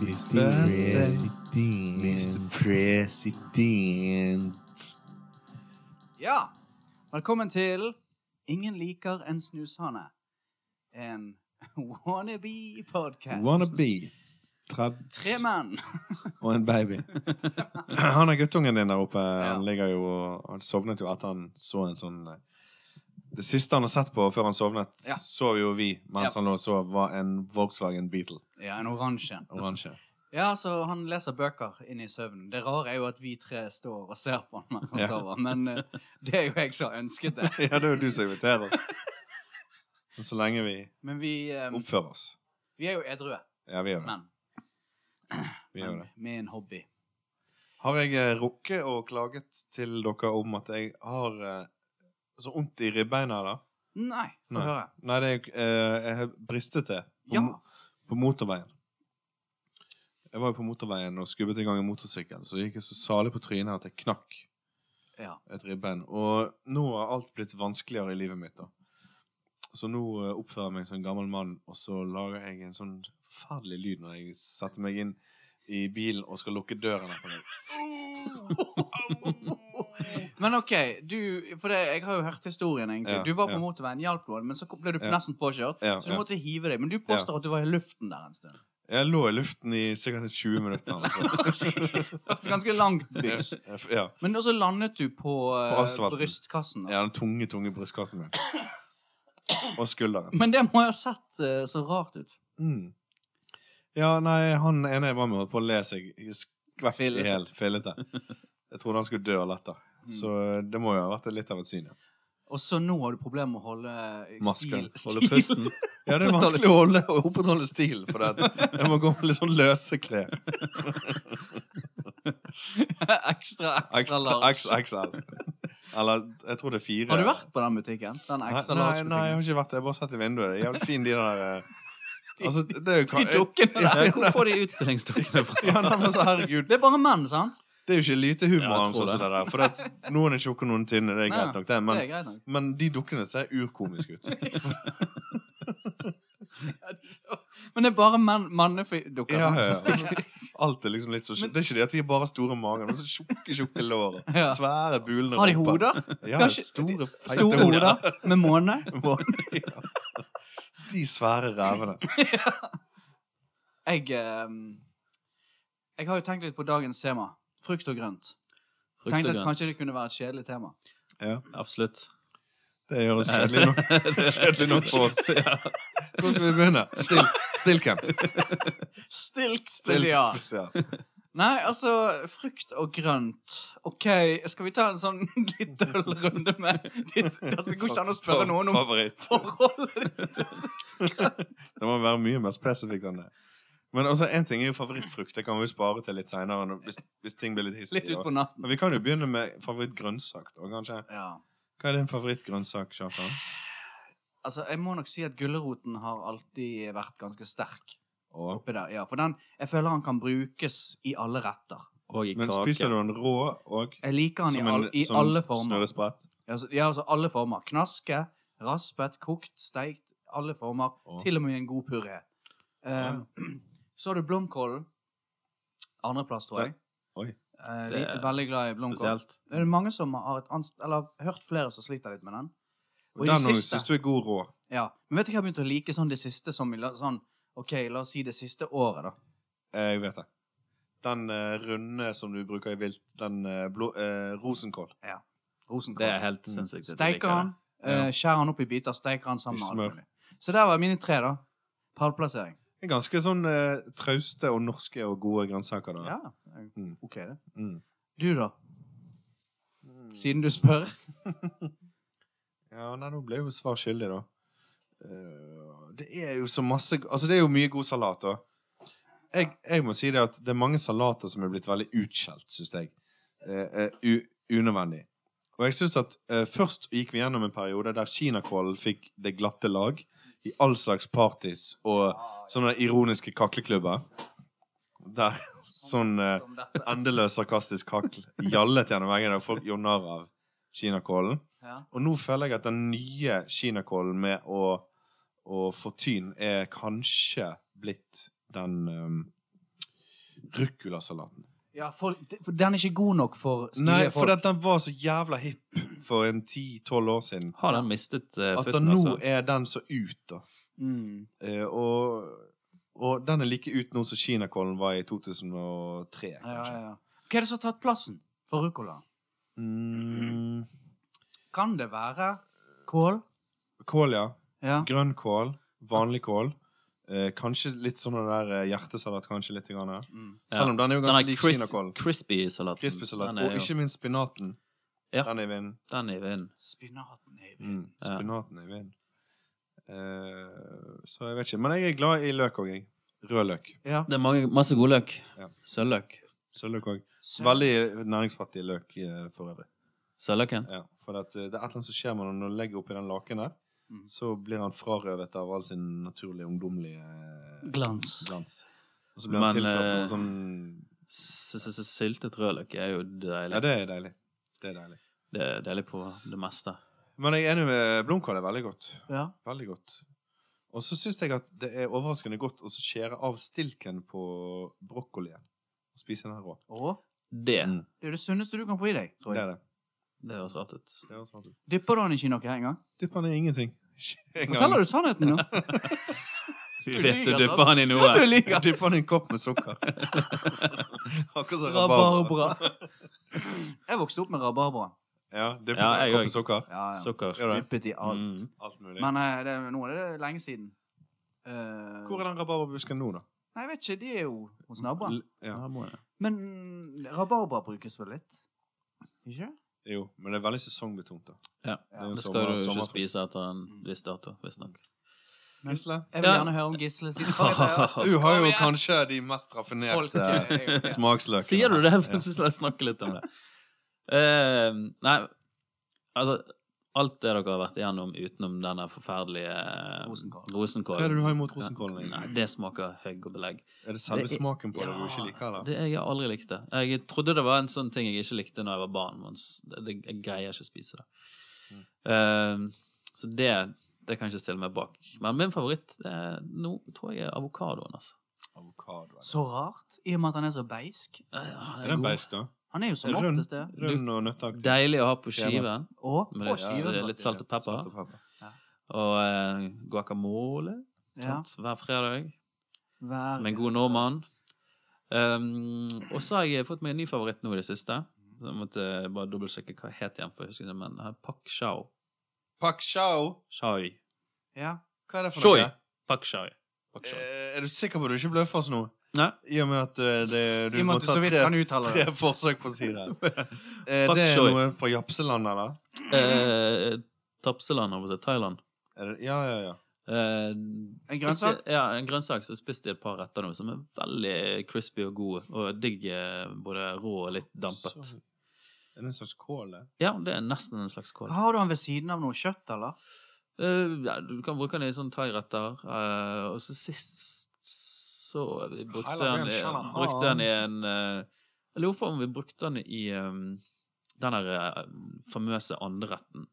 President. Mr. President. Ja! Velkommen til Ingen liker en snushane. En wannabe-podkast. Wannabe. Trad- Tre menn. og en baby. Han er guttungen din der oppe. Han Ja. ligger jo og Han sovnet jo etter han så en sånn eh, Det siste han har sett på før han sovnet, Ja. sov jo vi mens Ja. han lå og sov, var en Volkswagen Beetle. Ja, en oransje. Oransje. Ja, så han leser bøker inn i søvnen. Det rare er jo at vi tre står og ser på han mens han Ja. sover, men eh, det er jo jeg som har ønsket det. Ja, det er jo du som inviterer oss. Men så lenge vi Men vi, eh, oppfører oss. vi er jo edrue Ja, vi gjør det. menn. Vi gjør men det. Med en hobby. Har jeg eh, rukket og klaget til dere om at jeg har eh, så vondt i ribbeina, da? Nei, få Nei. høre. Nei, det er, eh, jeg har bristet det på, Ja. mo- på motorveien. Jeg var jo på motorveien og skubbet i gang en motorsykkel, så gikk jeg så salig på trynet at jeg knakk Ja. et ribbein. Og nå har alt blitt vanskeligere i livet mitt, da. Så nå eh, oppfører jeg meg som en gammel mann, og så lager jeg en sånn forferdelig lyd når jeg setter meg inn i bilen og skal lukke døren etter meg. Men ok, du, for det, jeg har jo hørt historien egentlig. Ja, du var på ja. motorveien, hjalp noen, men så kom- ble du Ja. nesten påkjørt. Ja, Så du ja. måtte hive deg. Men du påstår at du var i luften der en stund. Jeg lå i luften i sikkert 20 minutter. eller noe sånt. Ganske langt bys. Ja. Men også landet du på, eh, På asfalten. brystkassen. da. Ja, den tunge, tunge brystkassen min. Og skulderen. Men det må jeg ha sett eh, så rart ut. Mm. Ja, nei, han ene jeg var med, holdt på å le seg i skvett i Fillete. hjel. Fillete. Jeg trodde han skulle dø av latter. Mm. Så eh, det må jo ha vært litt av et syn, ja. Og så nå har du problemer med å holde eh, Masken. stil. Holde pusten. Ja, det er Opprettholde vanskelig å holde, å opprettholde stilen på det. at Jeg må gå med litt sånn løse klær. ekstra, ekstra Extra, large. X- XL. Eller jeg tror det er fire. Har du vært på den butikken? Den ekstra nei, nei, large-butikken? nei, jeg har ikke vært det. Jeg har bare sett i vinduet. Det er Jævlig fin, de der eh, Altså, det er jo De dukkene Ja, der. Ja, hvor får de utstillingsdukkene fra? Ja, nei, men så herregud. Det er bare menn, sant? Det er jo ikke lite humor Ja, jeg hans tror også, det. det der. For det at noen er tjukke og noen tynne. Det er Nei, greit nok, det. det Men, er greit nok. men de dukkene ser urkomiske ut. Men det er bare menn, mannedukker. Ja, ja, sant? ja. Altså, Alt er liksom litt så Men- Det er ikke det at de har bare store mager, men så tjukke, tjukke lår. Ja. Svære, bulende Har de rumper. hoder? Ja, Kanskje- store, feite Store hoder. hoder med måne? Ja. De svære rævene. Jeg, ehm, jeg har jo tenkt litt på dagens tema. Frukt og grønt. Frukt Tenkte og at kanskje det grønt. kunne være et kjedelig tema. Absolutt. Det høres kjedelig nok Kjedelig nok for oss. Ja. Hvordan skal vi begynne? Still, stillcam. Stilk Still ja. spesial. Nei, altså, frukt og grønt. OK, skal vi ta en sånn litt døll runde med ditt Det går ikke an å spørre noen om Favoritt. forholdet ditt til frukt og grønt. Det må være mye mer spesifikt enn det. Men også en ting er jo favorittfrukt. Det kan vi jo spare til litt seinere hvis, hvis ting blir litt Litt hissige. utpå natten. Men vi kan jo begynne med favorittgrønnsak. da, kanskje. Ja. Hva er din favorittgrønnsak, Kjartan? Altså, jeg må nok si at gulroten har alltid vært ganske sterk. Og, oppi der. Ja, for den, jeg føler han kan brukes i alle retter. Og i men kake. spiser du den rå og Jeg liker han i, all, i som alle former. snurresprett? Ja, altså, ja, altså alle former. Knaske, raspet, kokt, steikt. Alle former. Å. Til og med i en god puré. Eh, Så har du blomkålen. Andreplass, tror jeg. Oi. Eh, Det vi er er veldig glad i blomkål. Spesielt. Det er mange som har et anst... Eller har hørt flere som sliter litt med den. Og i Den det òg siste syns du er god rå. ja. Men vet du hva jeg har begynt å like sånn det siste som i la- sånn, OK, la oss si det siste året, da. Eh, Jeg vet det. Den eh, runde som du bruker i vilt, den eh, blå, eh, rosenkål. Rosenkål. Det er helt sinnssykt. at du liker Steiker han, Ja. eh, skjærer han opp i biter, steiker han sammen I med alt smør. mulig. Så der var mine tre, da. Pallplassering. Det er ganske sånn eh, trauste og norske og gode grønnsaker. da. Ja. Mm. OK, det. Mm. Du, da? Siden du spør. Ja, nei, nå ble jeg jo svar skyldig, da. Eh, det er jo så masse Altså, det er jo mye god salat, da. Jeg, jeg må si det at det er mange salater som er blitt veldig utskjelt, syns jeg. Eh, eh, u unødvendig. Og jeg syns at eh, først gikk vi gjennom en periode der kinakålen fikk det glatte lag i all slags parties og sånne ironiske kakleklubber. Der sånn eh, Som dette. endeløs sarkastisk kakl gjallet gjennom veggene, og folk gjorde narr av kinakålen. Ja. Og nå føler jeg at den nye kinakålen med å, å få tyn er kanskje blitt den eh, ruccolasalaten. Ja, for, for den er ikke god nok for stive Nei, for folk. at den var så jævla hipp for en 10-12 år siden. Har den mistet eh, At den føttene, nå altså? er den så ut, da. Mm. Eh, og, og den er like ut nå som kinakålen var i 2003, Ja, ja, kanskje. ja. Hva er det som har tatt plassen for ruccola? Mm, Kan det være kål? kål, ja. Ja. Grønn kål. Vanlig kål. Eh, kanskje litt sånn den der eh, hjertesalat, kanskje litt. Grann, her. Mm. Selv om den er jo Den ganske er lik cris kinakålen. crispy-salaten. Crispy-salat. Den er Og jo- ikke minst spinaten. Ja. Den er i vinden. Den er i vinden. Spinaten er i vinden. Mm. Ja. Spinaten er i vinden. Eh, så jeg vet ikke. Men jeg er glad i løk òg, jeg. Rød løk. Ja. Det er mange, masse godløk. Ja. Sølvløk. Sølvløk òg. Sø- Veldig næringsfattig løk eh, for øvrig. Sølvløken. Ja, for at, eh, det er et eller annet som skjer med når du legger oppi den laken der, Mm. så blir han frarøvet av all sin naturlige ungdommelige eh, Glans. glans. Og så blir han Men, tilført eh, noe sånn S- s- s- Syltet rødløk er jo deilig. Ja, det er deilig. Det er deilig. Det er deilig på det meste. Men jeg er enig med blomkål er veldig godt. Ja. Veldig godt. Og så syns jeg at det er overraskende godt å så skjære av stilken på brokkolien. Og spise den her rå. Og Det Mm. det er det sunneste du kan få i deg, tror Det jeg. er det. det høres rart ut. det er også sant. Dypper du den ikke i noe engang? Dypp den i ingenting. Ikke engang. Forteller du sannheten nå? Vi Du vet du liker dupper han i noe. Sånn du Jeg liker. dypper den i en kopp med sukker. Akkurat som rabarbra. Rabarbra. Jeg vokste opp med rabarbra. Ja, dypper Ja, den i jeg en kopp også. med sukker. Ja, ja. Sukker. Gjør det. Dyppet i alt. Mm. Alt mulig. Men eh, det, nå er det lenge siden. Eh, Hvor er den rabarbrabusken nå, da? Nei, jeg vet ikke. De er jo hos naboen. L- Ja. Ja, må jeg. Men mm, rabarbra brukes vel litt? Ikke? Jo, men det er veldig sesongbetont, da. Ja, jo Det skal sommer- du jo ikke sommerfrukt. spise etter en viss dato, visstnok. Men Gisle, jeg vil Ja. gjerne høre om Gisle sine favoritter. du Sier har Kom jo igjen. kanskje de mest raffinerte Folket. smaksløkene. du det? Ja. Så la oss snakke litt om det. Eh, nei, altså Alt det dere har vært igjennom utenom denne forferdelige eh, Rosenkål. rosenkålen. Hva er det du har imot rosenkålen, Ja, egentlig? Nei, det smaker høgg og belegg. Er det selve Det er- smaken på det du ikke liker, eller? Det jeg har aldri likte. Jeg trodde det var en sånn ting jeg ikke likte når jeg var barn, men s- det- det- jeg greier ikke å spise det. Mm. Eh, så det, det kan jeg ikke stille meg bak. Men min favoritt det er, nå tror jeg er avokadoen, altså. Avokado. eller? Så rart, i og med at han er så beisk. Ja, ja, Er den god. beist, da? Han er jo som Er rund? oftest det. Rund og nøtteaktig. Deilig å ha på Jævlig. skive. Og, Med og litt, skiven, eh, skiven. litt salt og pepper. Salt og pepper. Og eh, guacamole Ja, sant, hver fredag, hver- som en god nordmann. Um, og så har jeg fått meg en ny favoritt nå i det siste. Så Jeg måtte eh, bare dobbeltsjekke hva jeg het igjen, for jeg husker ikke, men det her er pak chao. Pak chao. Chai. Ja. Hva er det for Choi. noe? Pak chai. Pak choi. Eh, Er du sikker på at du ikke bløffer oss nå? Nei. I og med at eh, det, du I og må med at du ta så vidt kan tre, uttale tre det. forsøk på å si det. Eh, Pak Det er choi. noe fra Japseland, eller? Eh, Tapseland, holdt jeg på å si. Thailand. Er det? Ja, ja, ja. Eh, spiste- grønnsak? Ja, en grønnsak. Så spiste jeg et par retter nå som er veldig crispy og gode, og digg eh, både rå og litt dampet. Så- Er det en slags kål, det? Ja, det er nesten en slags kål. Har du han ved siden av noe kjøtt, eller? Eh, ja, du kan bruke den i sånn thairetter. eh, og så sist så vi brukte Heller den, ren i, shalahan. brukte den i en eh, Jeg lurer på om vi brukte den i um, den der eh, famøse andreretten.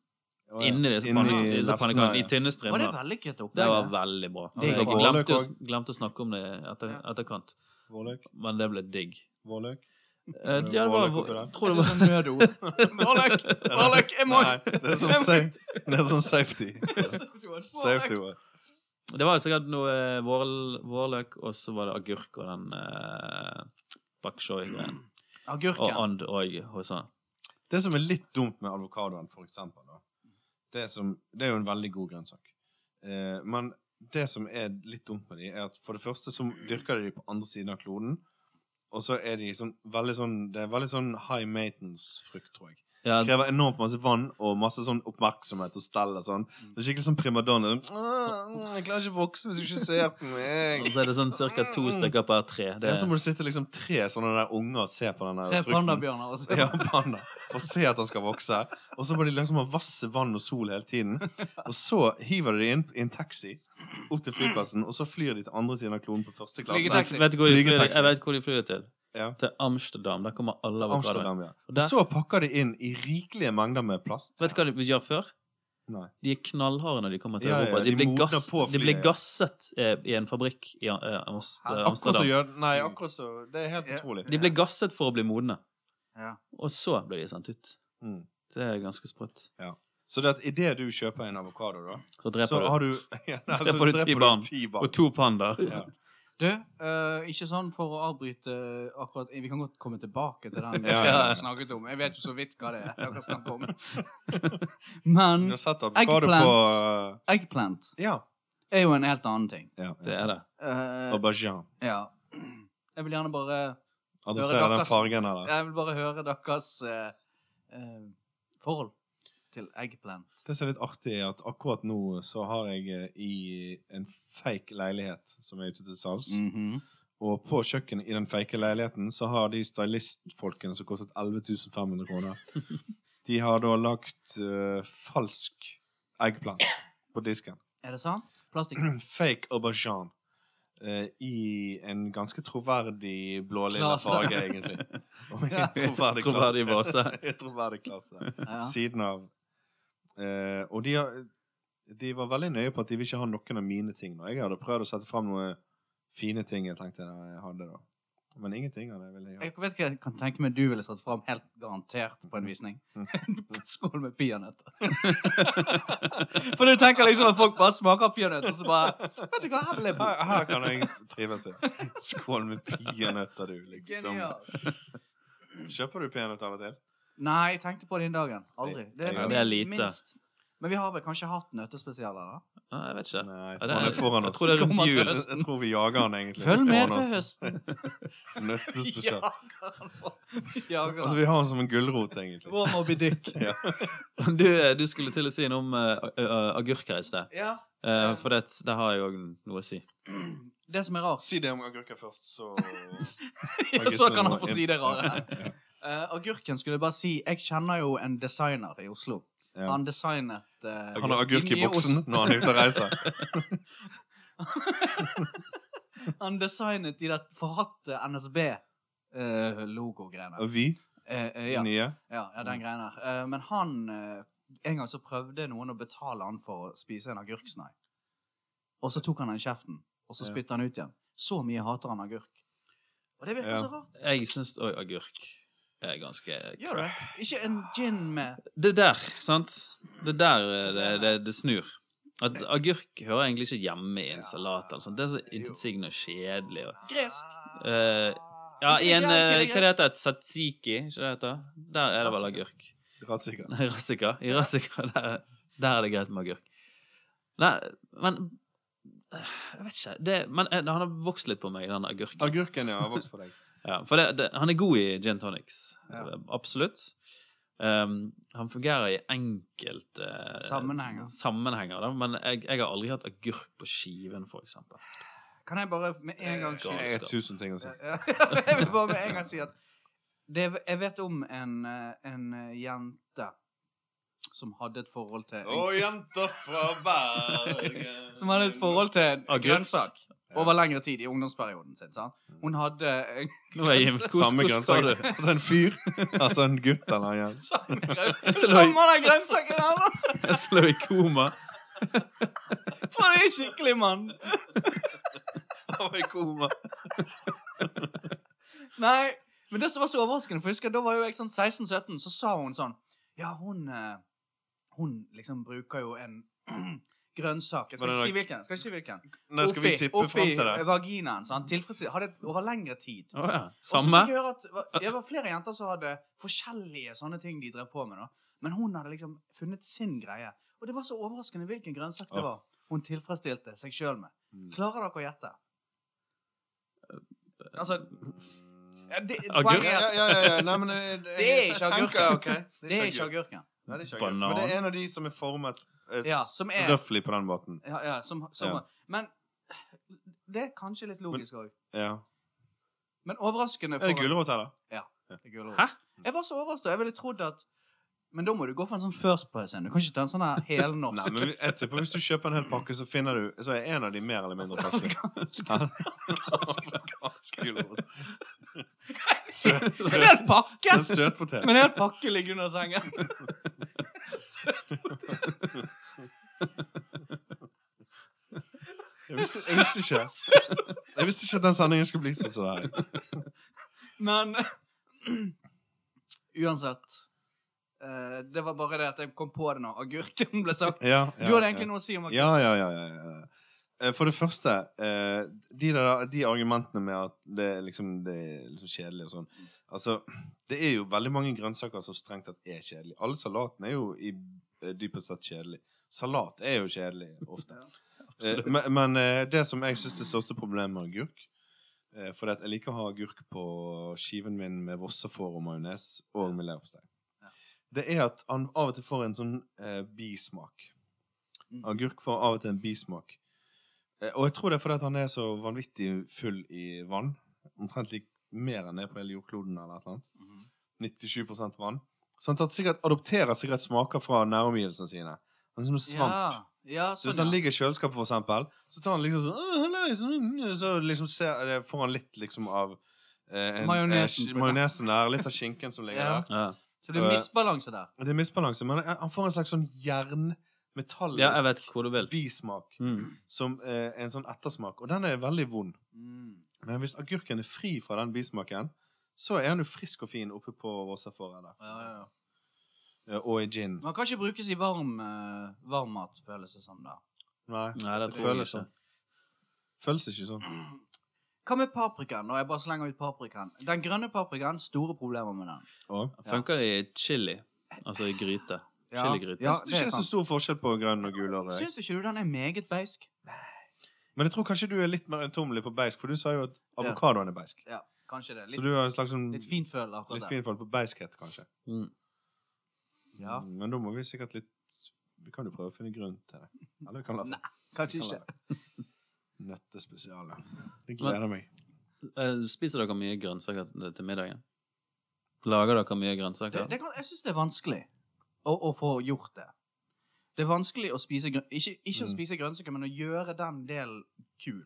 Å, ja. Inni disse Inni panne- disse lefsene, pannekakene. I ja. tynne Var det strimler. vellykket Det var opplegg? veldig bra. Det er Jeg godt. glemte å, Vårløk glemte å snakke om det etter, Ja. etterkant, Vårløk. men det ble digg. Vårløk. Eh, det ja, det var, vårløk oppi der? jeg tror det var nødord. Vårløk! Vårløk! Jeg må Nei, det er sånn, safe, det er sånn safety. Safety word. Det var sikkert noe eh, vårl- vårløk, og så var det agurk og den eh, bak choi-greien. Og Agurken. and òg hos han. Det som er litt dumt med avokadoen, for eksempel, da, det, som, det er jo en veldig god grønnsak. Eh, men det som er litt dumt med de, er at for det første så dyrker de de på andre siden av kloden, og så er de sånn veldig sånn Det er veldig sånn high maintenance-frukt, tror jeg. Ja, Krever enormt masse vann og masse sånn oppmerksomhet og stell og sånn. Mm. Det er skikkelig sånn primadonna. Sånn, «Åh, Jeg klarer ikke å vokse hvis du ikke ser på meg. og så er det sånn ca. to stykker per tre. Det Ja, så er, må du sitte liksom tre sånne der unger og se på den der Tre frukten. pandabjørner. altså. Ja, panda. For å se at den skal vokse. Og så må de liksom ha vasse vann og sol hele tiden. Og så hiver de det inn i en taxi opp til flyplassen, og så flyr de til andre siden av kloden på første klasse. Flygetaxi. vet du hvor de flyr, Flygetaxi. jeg vet hvor de flyr til. Ja. Til Amsterdam. Der kommer alle avokadoene. Amsterdam, ja. Og Og der- så pakker de inn i rikelige mengder med plast. Vet du hva de gjør før? Nei. De er knallharde når de kommer til Ja, ja, Europa. De, de blir, modner gass, på de flyet, blir ja. gasset eh, i en fabrikk i eh, Ams- eh, Akkurat så Amsterdam. gjør Nei, akkurat så Det er helt Ja. utrolig. De ble gasset for å bli modne. Ja. Og så ble de sendt ut. Mm. Det er ganske sprøtt. Så det at idet du kjøper en avokado, da, Så så dreper har du ja, nei, så Dreper du ti barn. ti du og to pandaer. Ja. Du, eh, ikke sånn for å avbryte eh, akkurat Vi kan godt komme tilbake til den Ja, ja, ja. vi snakket om. Jeg vet jo så vidt hva det er dere snakker om. Men Du har sett avokado på eh, Eggplant. eggplant Ja. er jo en helt annen ting. ja. Det er det. Eh, Aubergine. ja. Jeg vil gjerne bare Adresserer den deres- fargen her, da. Jeg vil bare høre deres eh, eh, forhold til eggplant. Det som er litt artig, er at akkurat nå så har jeg eh, i en fake leilighet som er ute til salgs. Mm. Og på kjøkkenet i den fake leiligheten så har de stylistfolkene som kostet 11 500 kroner De har da lagt eh, falsk eggplant på disken. Er det sant? Plastikk? Fake aubergine. eh, I en ganske troverdig blålilla Klasse. farge, egentlig. Og i en troverdig klasse. Troverdig base. I en troverdig klasse Ja. siden av. Eh, og de, har, de var veldig nøye på at de vil ikke ha noen av mine ting. Og jeg hadde prøvd å sette fram noen fine ting jeg tenkte jeg hadde da. Men ingenting av det ville jeg ha. Jeg vet ikke, jeg kan tenke meg du ville satt fram helt garantert på en visning. Skål med peanøtter. For du tenker liksom at folk bare smaker peanøtter, så bare Vet du hva, her vil jeg bo. Her, her kan jeg trives i. Skål med peanøtter, du, liksom. Genialt. Kjøper du peanøtter av og til? Nei, jeg tenkte på det den dagen. Aldri. Ja, det er lite. Minst. Men vi har vel kanskje hatt nøttespesialer, da? Nei, jeg vet ikke. Nei, jeg Ja, tror det er- han er foran jeg oss. tror det er rundt Kommer til jul. høsten. Jeg tror vi jager han egentlig. Følg med Foran til altså. oss. høsten. Nøttespesial. Jager han på. Jager Altså, han. vi har han som en gulrot, egentlig. Rå Moby Dick. Ja. Du, eh, du skulle til å si noe om eh, a- a- agurk her i sted. Ja. Eh, for det, det har jeg òg noe å si. Det som er rart Si det om agurker først, så Ja, så kan han få si det rare. Ja, ja. Eh, agurken skulle jeg bare si Jeg kjenner jo en designer i Oslo. Ja. Han designet eh, Han har agurk i de nye boksen når han er ute og reiser. Os- Han designet de der forhatte eh, NSB-logo-greiene. Og vi, Eh, ja. nye. Ja, ja, den greien der. Eh, men han eh, En gang så prøvde noen å betale han for å spise en agurksnei. Og så tok han den i kjeften, og så Ja. spytta han ut igjen. Så mye hater han agurk. Og det virker Ja. så rart. Jeg syns òg agurk er ganske Gjør det? Ikke en gin med Det der, sant? Det der eh, det, det, det snur. At agurk hører egentlig ikke hjemme i en salat. eller sånt. Det er så intetsigende og kjedelig. Og, gresk. eh, ja, i en eh, Hva det det? heter det? Tzatziki? Ikke det heter? Der er det vel agurk. Ratsikker. Nei, Rassika. I Rassika, der, der er det greit med agurk. Nei, men eh, Jeg vet ikke. Det, men eh, han har vokst litt på meg, den agurken. Agurken, ja. har Vokst på deg. Ja, for det, det, han er god i gin tonics. Ja. Absolutt. Um, han fungerer i enkelte eh, Sammenhenger. sammenhenger, da, men jeg, jeg har aldri hatt agurk på skiven, for eksempel. Kan jeg bare med en gang si Galskap. Jeg har tusen ting å si. Jeg vil bare med en gang si at det, jeg vet om en, eh, en eh, jente som hadde et forhold til en, jenter fra Bergen Som hadde et forhold til en Agurk. grønnsak over lengre tid i ungdomsperioden sin. Sant? Mm. Hun hadde en Nå er jeg hvor, Samme hvor skal grønnsak. du? Altså en fyr. Altså en gutt eller en jente. samme grønnsak Samme den grønnsaken her, da! Jeg slår i koma. For det er skikkelig, mann! Han var i koma. Nei, men det som var så overraskende, for jeg husker da var jo jeg sånn 16-17, så sa hun sånn Ja, hun eh, Hun liksom bruker jo en grønnsak. Jeg Var skal det ikke si da- hvilken. Skal ikke si hvilken. Nei, skal vi tippe oppi fram til det? vaginaen. Så han tilfredsstilte Hadde et over lengre tid. Å ja. Og så Samme? fikk jeg høre at det var- det var flere jenter som hadde forskjellige sånne ting de drev på med, da. Men hun hadde liksom funnet sin greie. Og det var så overraskende hvilken grønnsak Ja. det var hun tilfredsstilte seg sjøl med. Mm. Klarer dere å gjette? Altså ja, det, Agurk? poenget er Ja, at- ja, ja, ja. Nei, men jeg- jeg- Det er ikke jeg tenker, agurken. ok, Det er ikke agurken. Nei, det er ikke agurk. Men det er en av de som er formet eh, Ja, som er røffelig på den måten. ja, ja, som, som, Ja. Men det er kanskje litt logisk òg. Ja. Men overraskende Er det gulrot, eller? Det er gulrot. Hæ? Jeg var så overrasket. og Jeg ville trodd at Men da må du gå for en sånn first person. Du kan ikke ta en sånn her Nei, helnorsk. men vi- jeg tipper hvis du kjøper en hel pakke, så finner du Så er en av de mer eller mindre passelig. Afrikansk gulrot. Søt, En søt. hel pakke! En søtpotet. Men en hel pakke ligger under sengen. Jeg visste, jeg visste ikke Jeg visste ikke at den sendingen skulle bli sånn som det er. Men uansett eh, Det var bare det at jeg kom på det nå. Agurken ble sagt. Ja, ja, Du hadde ja. egentlig noe å si om agurken. Ja, ja, ja, ja, ja. Eh, For det første, eh, de, der, de argumentene med at det, er liksom, det er liksom kjedelig og sånn Altså, det er jo veldig mange grønnsaker som strengt tatt er kjedelig. Alle salatene er jo i, eh, dypest sett kjedelig. Salat er jo kjedelig ofte. Eh, Absolutt. men men eh, det som jeg syns er det største problemet med agurk eh, For jeg liker å ha agurk på skiven min med vossefår og majones og med leverpostei. Det er at han av og til får en sånn eh, bismak. Mm. Agurk får av og til en bismak. Eh, Og jeg tror det er fordi at han er så vanvittig full i vann. Omtrent lik mer enn det på hele jordkloden. eller et eller annet. Mhm. 97 vann. Så han tatt sikkert adopterer sikkert smaker fra næromgivelsene sine. Han er som en svamp. Ja, ja, Så hvis sånn, han ja. ligger i kjøleskapet, for eksempel, så tar han liksom sånn «Åh, halløy», sånn, Så liksom ser, eh, får han litt liksom av eh, en- Majonesen. eh, majonesen der. Litt av skinken som ligger Ja. der. Ja. Så det er misbalanse der. Det er misbalanse, men eh, han får en slags sånn jernmetallisk ja, jeg vet hvor du vil. bismak Mm. som eh, en sånn ettersmak. Og den er veldig vond. Mm. Men hvis agurken er fri fra den bismaken, så er den jo frisk og fin oppe på Vossafor eller Ja, ja, ja. eh, Og i gin. Man kan ikke brukes i varm, eh, varm mat, føles det som. da. Nei. Nei, det Det tror jeg føles ikke. sånn. Føles ikke sånn. Mm. Hva med paprikaen? Og jeg bare slenger ut paprikaen. Den grønne paprikaen, store problemer med den. Og. Ja. Funker i chili, altså i gryte. Chiligryte. Ja, jeg syns det er ikke det er så sant. stor forskjell på grønn og gul. og rød. Syns ikke du den er meget beisk? Men jeg tror kanskje du er litt mer ømtålelig på beisk, for du sa jo at Ja. avokadoen er beisk. Ja, kanskje det. så du Litt, har en slags sånn litt fint føl akkurat litt der. fin forhold på beiskhet, kanskje. Mm. Ja, Mm, Men da må vi sikkert litt Vi kan jo prøve å finne grunn til det. Eller vi kan la Nei, kanskje ikke. Nøttespesialet. Det gleder meg. Eh, Spiser dere mye grønnsaker til til middagen? Lager dere mye Det, grønnsaker? det kan, jeg syns det er vanskelig å, å få gjort det. Det er vanskelig å spise grøn, ikke, ikke å Mm. spise grønnsaker, men å gjøre den delen kul.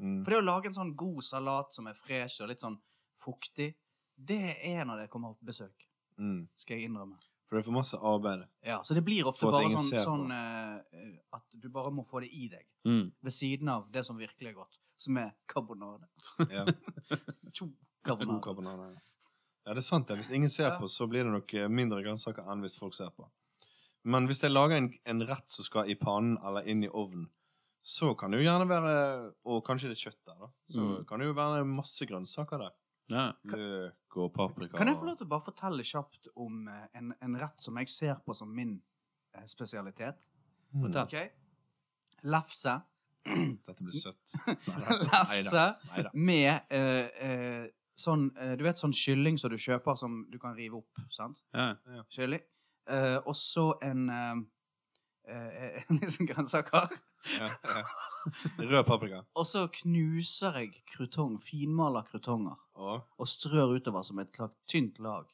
Mm. For det å lage en sånn god salat som er fresh og litt sånn fuktig, det er når det kommer på besøk, Mm. skal jeg innrømme. For det er for masse arbeid. Ja, Så det blir ofte For at bare ingen sånn, ser på. sånn eh, at du bare må få det i deg. Mm. Ved siden av det som virkelig er godt, som er carbonade. Ja. Tjo, To carbonade. karbonader. Ja, det er sant. det. Hvis ingen ser Ja. på, så blir det nok eh, mindre grønnsaker enn hvis folk ser på. Men hvis jeg lager en, en rett som skal i pannen eller inn i ovnen, så kan det jo gjerne være Og kanskje det er kjøtt der, da. Så Mm. kan det jo være masse grønnsaker der. Ja. Løk og paprika. Kan jeg få og- lov til å bare fortelle kjapt om eh, en, en rett som jeg ser på som min eh, spesialitet? Mm. Fortell. Ok? Lefse. Dette blir søtt. Lefse Nei da. med eh, eh, sånn eh, Du vet sånn kylling som du kjøper som du kan rive opp, sant? Ja. Kylling. Eh, og så en eh, eh, Litt sånn grønnsaker. Rød paprika. Og så knuser jeg krutong, finmaler krutonger, Og og strør utover som et lag, tynt lag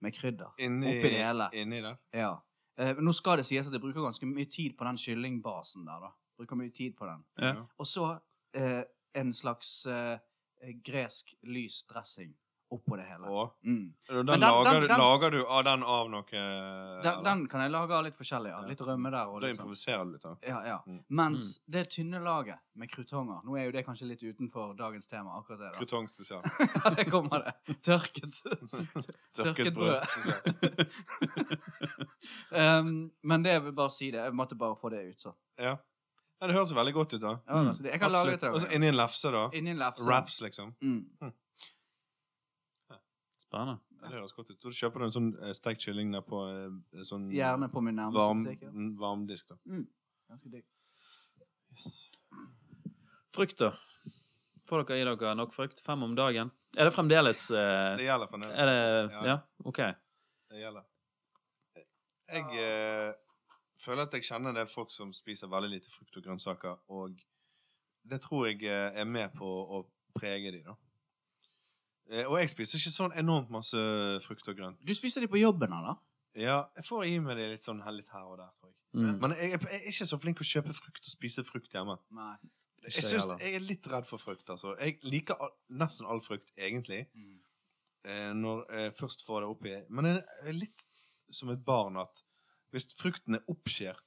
med krydder. inni, Oppi det hele. inni der. Ja. Eh, men nå skal det sies at jeg bruker ganske mye tid på den kyllingbasen der, da. Bruker mye tid på den. Ja. Og så eh, en slags eh, gresk lys dressing oppå det hele. Og Mm. Da den- lager, den- du- den- lager du av den av noe eller? Den, den kan jeg lage av litt forskjellig av. Ja. Litt rømme der og Da litt sånn. improviserer du litt, da. Ja, ja. Mm. Mens det tynne laget med krutonger Nå er jo det kanskje litt utenfor dagens tema, akkurat det. da. Krutong spesial. Ja, det kommer det. Tørket. Tørket Tørket brød. spesial. Um, men det jeg vil bare si det. Jeg måtte bare få det ut. så. Ja. ja, det høres jo veldig godt ut, da. Ja, Mm, altså, det- jeg kan lage absolutt. litt av Og så det. inni en lefse, da. Inni en lefse. Wraps, liksom. Mm. Spennende. Ja, Det høres godt ut. Så kjøper du en sånn eh, steikt kylling der på eh, sånn Gjerne på min nærmeste varm, butikk, ja. mm, varmdisk, da. Ganske digg. Frukt, da? Får dere i dere nok frukt? Fem om dagen? Er det fremdeles eh, Det gjelder Er fremdeles. det Ja. Ja, OK. Det gjelder. Jeg eh, føler at jeg kjenner en del folk som spiser veldig lite frukt og grønnsaker, og det tror jeg eh, er med på å prege de, da. Eh, Og jeg spiser ikke sånn enormt masse frukt og grønt. Du spiser de på jobben, eller? Ja, jeg får gi meg det litt sånn her- litt her og der, tror jeg. Mm. Men jeg, jeg er ikke så flink å kjøpe frukt og spise frukt hjemme. Nei. Jeg, jeg synes, heller. jeg er litt redd for frukt, altså. Jeg liker al nesten all frukt, egentlig, Mm. eh, når jeg først får det oppi. Men jeg er litt som et barn at hvis frukten er oppskjært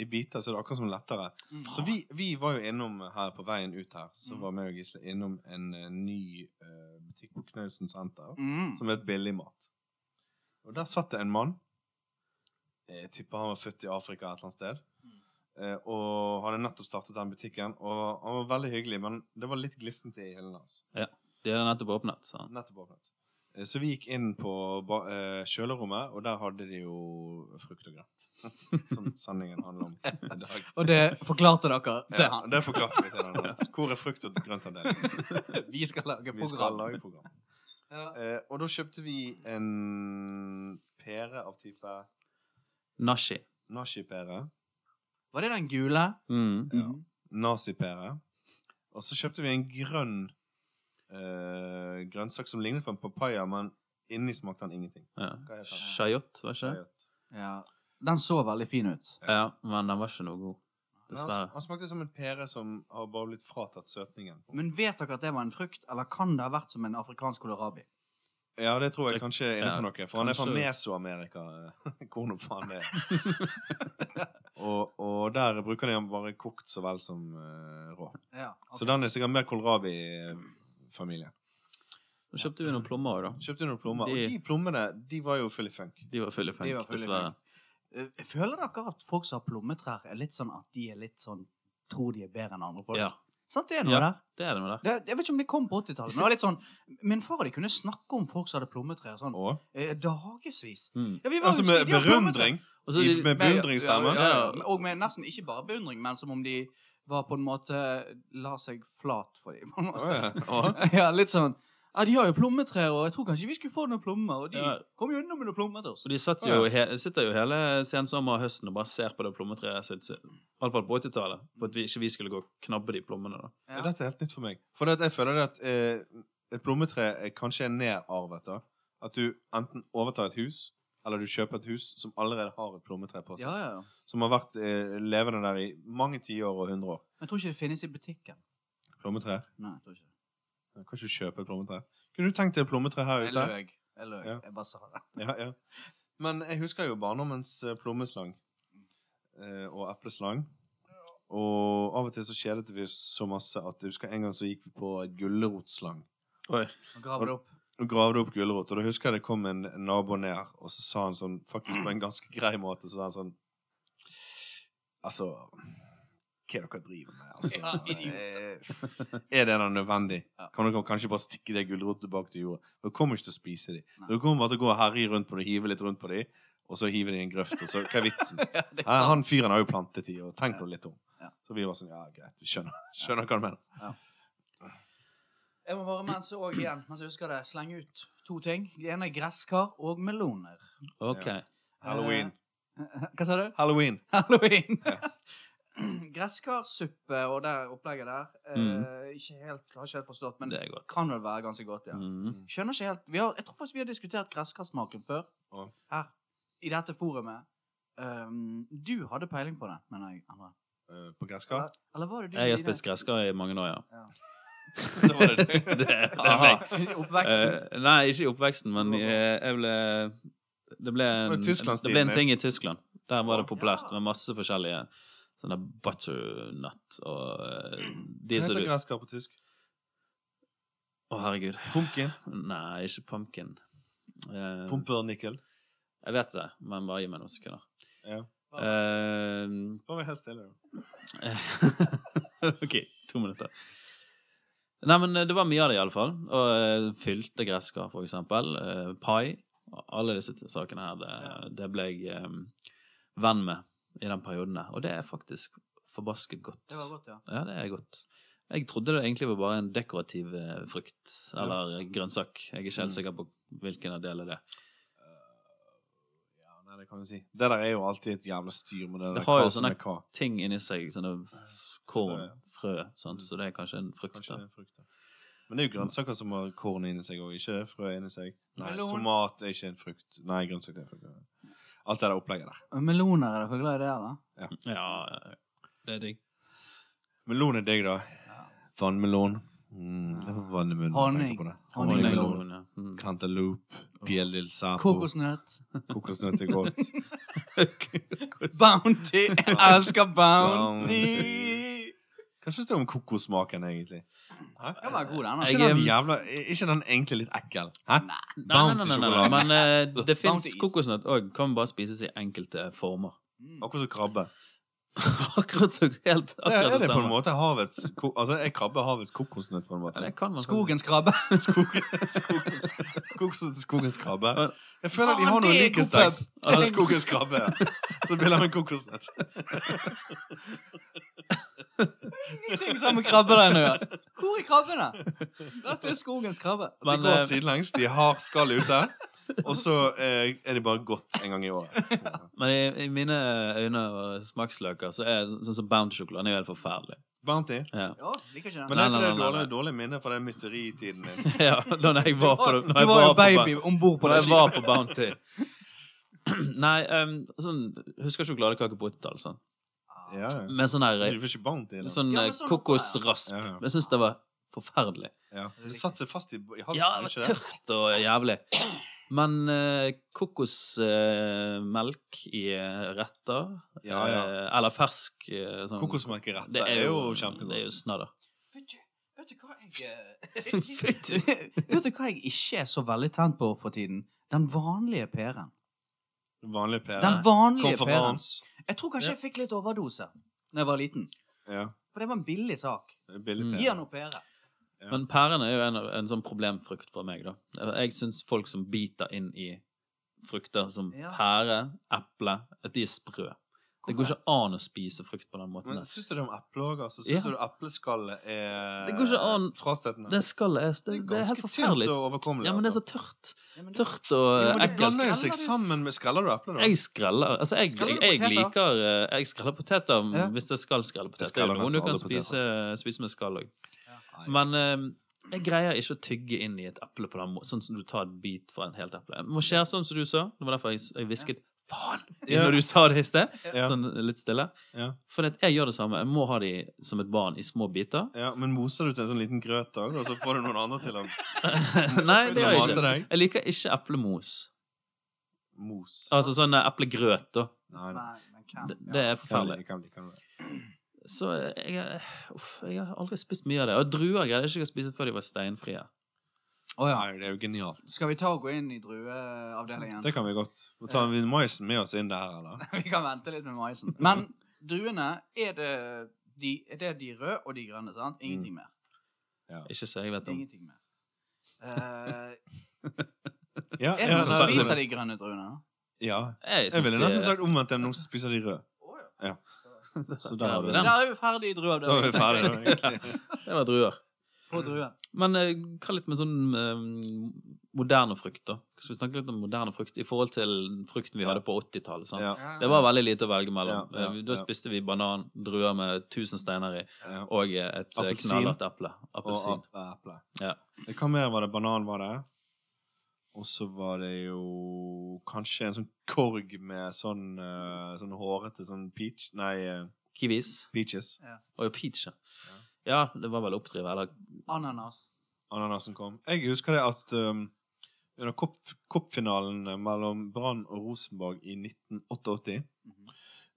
i biter, så er det akkurat som lettere. Så vi, vi var jo innom her på veien ut her, så Mm. var meg og Gisle innom en eh, ny eh, butikk på Knausen senter, Mm. som het Billigmat. Og der satt det en mann, jeg tipper han var født i Afrika et eller annet sted, eh, og hadde nettopp startet den butikken, og han var veldig hyggelig, men det var litt glissent i hyllene hans. De hadde nettopp åpnet, sa han. Nettopp åpnet. Eh, Så vi gikk inn på ba- eh, kjølerommet, og der hadde de jo frukt og grønt. Som sendingen handler om i dag. Og det forklarte dere til Ja, han. det forklarte vi til han. Hans. Hvor er frukt- og grøntavdelingen? Vi skal lage Vi skal program. lage program. Ja. Eh, og da kjøpte vi en pære av type Nashi. nashi-pære. Var det den gule? Mm. Ja. Nazi-pære. Og så kjøpte vi en grønn eh, grønnsak som lignet på en papaya, men inni smakte den ingenting. Ja. Hva heter den? Shayot, var ikke det? Ja. Den så veldig fin ut. Ja, men den var ikke noe god. Men Han, Dessverre. han smakte som en pære som har bare blitt fratatt søtningen. Men vet dere at det var en frukt, eller kan det ha vært som en afrikansk kålrabi? Ja, det tror jeg Det- kanskje er inne på noe, for han er fra kanskje- Mesoamerika. eh, Hvor nå faen det er. og, og der bruker de den bare kokt så vel som eh, rå. Ja, ok. Så den er sikkert mer kålrabi-familien. Så kjøpte vi noen plommer òg, da. Kjøpte noen plommer, De- og de plommene de var jo full i funk. De var fulle De var funk, full i dessverre. Eh, Føler dere at folk som har plommetrær, er litt sånn at de er litt sånn Tror de er bedre enn andre folk? Ja, Sant det er noe Ja. der? det er det med det. Det, jeg vet ikke om det kom på 80-tallet, men det var litt sånn Min far og de kunne snakke om folk som hadde plommetrær sånn Og eh, dagevis. Mm. Ja, vi var altså jo med de hadde plommetrær. beundring. Og så I, de- med beundringsstemme. Altså, Ja, ja, Ja. ja. Og med nesten ikke bare beundring, men som om de var på en måte La seg flat for dem. på en måte. Å, ja. Og- Ja, litt sånn Ja, de har jo plommetrær, og jeg tror kanskje vi skulle få noen plommer, og de Ja. kom jo unna med noen plommer til oss. Og de satt jo, he sitter jo hele sensommer og høsten og bare ser på det plommetreet sitt, så- i alle fall på 80-tallet, for at vi ikke vi skulle gå og knabbe de plommene. da. Ja, Ja. Dette er helt nytt for meg. For det at jeg føler det at eh, et plommetre er kanskje er nedarvet. da. At du enten overtar et hus, eller du kjøper et hus som allerede har et plommetre på seg. Ja, ja, ja. Som har vært eh, levende der i mange tiår og hundre år. Men jeg tror ikke det finnes i butikken. Plommetrær. Nei, jeg tror ikke det. Ja, Kan ikke du kjøpe et plommetre. Kunne du tenkt deg et plommetre her Jeg ute? løg. Jeg løg. Ja. Jeg bare sa det. Ja, ja. Men jeg husker jo barndommens eh, plommeslang eh, og epleslang. Og av og til så kjedet vi oss så masse at jeg husker en gang så gikk vi på gulrotslang. Oi. Og grav det opp. og gravde opp gulrot. Og da husker jeg det kom en nabo ned, og så sa han sånn, faktisk på en ganske grei måte, så sa han sånn Altså Hva er det dere driver med? Altså, Ja, idiot. eh, er det da nødvendig? Ja. Kan dere kanskje bare stikke det gulrotet tilbake til jorda? Dere kommer ikke til å spise dem. Nei. Dere kommer bare til å gå og herje rundt på dem, hive litt rundt på dem, og så hive dem i en grøft. Og så, hva er vitsen? Ja, det er Her, sant. han fyren har jo plantet de, og tenk Sånn. Ja. nå litt om. Ja. Så vi var sånn Ja, greit, vi skjønner, skjønner hva du mener. Jeg må bare mens og igjen, mens jeg husker det, slenge ut to ting. Det ene er gresskar og meloner. Ok. Halloween. Eh, Hva sa du? Halloween. Halloween. Ja. Gresskarsuppe og det opplegget der eh, Mm. ikke helt, Har ikke helt forstått, men det er godt. kan vel være ganske godt, ja. Mm. Skjønner ikke helt vi har, Jeg tror faktisk vi har diskutert gresskarsmaken før. Ja. Her. I dette forumet. Um, du hadde peiling på det, mener jeg, André. eh, på gresskar. Eller, eller var det du? Jeg Line? har spist gresskar i mange år, ja. Ja. Så var det det, du. det er Aha. meg. I Oppveksten. Eh, nei, ikke i oppveksten, men Det var bra. eh, jeg ble Det ble en, Det var Tysklandstiden, det ble en det. ting i Tyskland. Der var det Ja. populært med masse forskjellige sånne butternut og eh, de Hva som heter du Å, gresskar på tysk? herregud. Pumpkin? Nei, ikke pumpkin. Eh, Pumpernickel? jeg vet det, men bare gi meg noen sekunder. Ja. Eh, Bare vær helt stille. da. OK, to minutter. Nei, men eh, det var mye av det, iallfall. Og eh, fylte gresskar, for eksempel. eh, Pai. Alle disse t- sakene her, det, det ble jeg eh, venn med i den perioden der. Og det er faktisk forbasket godt. Det var godt, ja. Ja, det er godt. Jeg trodde det egentlig var bare en dekorativ eh, frukt, eller grønnsak. Jeg er ikke helt Mm. sikker på hvilken av delene det er. Ja, nei, det kan du si. Det der er jo alltid et jævla styr med det, Det der har hva jo som sånne- er hva. Ting inni seg, sånne f- korn, frø, Mm. sånt, så det er kanskje en frukt. Kanskje da. det er frukt. da. Men det er jo grønnsaker som har korn inni seg, og ikke frø inni seg. Nei, Melon. tomat er ikke en frukt. Nei, grønnsak er en frukt. Alt det der opplegget der. Meloner, er dere glad i det, eller? Ja, det er digg. Melon er digg, da. Ja. Vannmelon. Mm, det var vann i munnen. når jeg Honning. tenker på det. Honningmelon. Honningmelon. Melon, ja. Mm. Cantaloupe. Bjell del sapo. Kokosnøtt. Kokosnøtt er godt. Bounty! Jeg elsker Bounty. Bounty! Hva syns du om kokosmaken, egentlig? Hæ? Den var god, den. Er altså. Jeg- ikke den jævla Er ikke den egentlig litt ekkel? Hæ? Nei. Nei, nei, nei, nei, nei. Bounty-sjokolade. Men eh, det fins Bounty-is. kokosnøtt òg. Kan bare spises i enkelte former. Mm. Akkurat som krabbe. akkurat så helt Det er, akkurat det det på en samme. måte havets ko- Altså, er krabbe havets kokosnøtt, på en Ja, det måte? kan man Skogens faktisk. Altså, krabbe. Skogen, skogens, skogens, skogens krabbe. Men- Jeg føler de Faen, har noen det er god likhetstrekk. pub. Altså, Altså- skogens krabbe. ja. Så blir det en kokosnøtt. Ingenting sammen med krabbe der nå. Hvor er krabbene? Dette er skogens krabbe. De Men, går eh, sidelengs, de har skall ute, og så eh, er de bare godt en gang i året. Men i, i mine eh, øyne og smaksløker så er sånn som Bounty-sjokoladen er jo helt forferdelig. Bounty. Ja. Ja, liker ikke Men det den. Nei, er fordi det nei, er nei, dårlig, nei. dårlig minne fra den mytteritiden min. ja, da jeg var på det- når Du jeg var jo på baby Bounty- om bord på Når det jeg skipet. var på Bounty. Nei, em, sånn Husker sjokoladekake på 80-tallet, sånn. Ah, Ja, ja. Med sånn Men her Du får ikke Bounty? Da. Sånn Ja, men eh, sånn- kokosrasp. Ja, ja. Jeg syns det var forferdelig. Ja. Det satte seg fast i, i halsen, Ja, det var ikke det? tørt og jævlig. Men eh, kokosmelk i eh, retter, Ja, ja. eh, eller fersk eh, sånn, Kokosmerkerett det er jo kjempegodt. Det er jo snadder. Vet du, vet du hva jeg eh, Fytti Vet du hva jeg ikke er så veldig tent på for tiden? Den vanlige pæren. Vanlig pære. Den vanlige pæren. Konferanse. Jeg tror kanskje jeg fikk litt overdose da jeg var liten. Ja. For det var en billig sak. Billig Mm. Gi pære. han noe pære. Ja. Men pærene er jo en, en sånn problemfrukt for meg, da. Jeg syns folk som biter inn i frukter som Ja. pære, eple, at de er sprø. Det går Hvorfor? ikke an å spise frukt på den måten. Men der. syns du det om eple òg? Altså, syns Ja. du epleskallet er eh, Det går ikke an. frastøtende? Det skallet er, det, det er helt forferdelig. Ganske tynt og overkommelig. Ja, men det er altså. så tørt. Ja, men det- Tørt og Jo, men eh, det ekkelt. blander jo seg sammen med Skreller du epler, da? Jeg skreller. Altså, jeg, Skreller du jeg, jeg poteter? liker eh, Jeg skreller poteter mm, Ja. hvis jeg skal skrelle poteter. Det er skreller jo noen nesten du kan alle poteter. spise, eh, spise med skall òg. Nei. Men eh, jeg greier ikke å tygge inn i et eple på den måten, sånn som du tar et bit fra en helt eple. Det må skje sånn som du sa. Det var derfor jeg, s- jeg hvisket faen Ja. når du sa det i sted. ja. Sånn litt stille. Ja. For at jeg gjør det samme. Jeg må ha de som et barn i små biter. ja, Men moser du til en sånn liten grøt òg, og så får du noen andre til å Nei, det gjør jeg mate ikke. deg? Jeg liker ikke eplemos. Mos. Altså sånn eh, eplegrøt, da. Nei, nei. Nei, men hvem? Det, det Ja. er forferdelig. Jeg kan bli- jeg kan bli- Så jeg, jeg- uff, jeg har aldri spist mye av det. Og druer greide jeg ikke å spise før de var steinfrie. Å ja. Nei, det er jo genialt. Skal vi ta og gå inn i drueavdelingen? Det kan vi godt. Må ta vi maisen med oss inn der, eller? Vi kan vente litt med maisen. Men druene, er det de, er det de røde og de grønne? sant? Ingenting mer. Ikke så jeg vet om. Ingenting mer. Eh, Ja, er det noen som ja, spiser de grønne druene? Ja. Jeg, Jeg synes ville de- nesten sagt omvendt enn noen som spiser de røde. Ja. Så der har du Ja. det. Der er vi ferdig i Da er vi drueavdelingen. ferdige, da, egentlig. det var druer. På druer. Men eh, hva litt med sånn eh, moderne frukt, da? Skal vi snakke litt om moderne frukt i forhold til frukten vi hadde på 80-tallet? sant? Ja, Det var veldig lite å velge mellom. Ja, ja, Eh, da ja. spiste vi banan, druer med tusen steiner i, ja. og eh, et eh, Appelsin. knallhardt eple. Appelsin. Og ap- eple. Ja. Det- Hva mer var det? Banan var det. Og så var det jo kanskje en sånn korg med sånn, eh, sånn hårete sånn peach Nei, eh, Kiwis. peaches. Og peach. ja. Ja, det var vel oppdrivet. Eller Ananas. Ananasen kom. Jeg husker det at um, under cup- cupfinalen mellom Brann og Rosenborg i 1988 Mhm.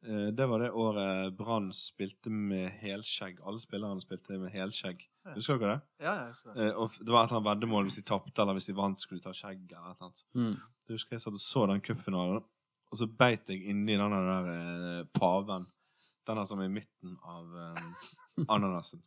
eh, Det var det året Brann spilte med helskjegg. Alle spillerne spilte med helskjegg. Ja. Husker dere det? Ja, ja, jeg skal. Eh, og f- det var et eller annet veddemål hvis de tapte eller hvis de vant, skulle de ta skjegg eller et eller annet. mm. Jeg husker jeg satt og så den cupfinalen, og så beit jeg inni den der eh, paven. Den er som i midten av eh, ananasen.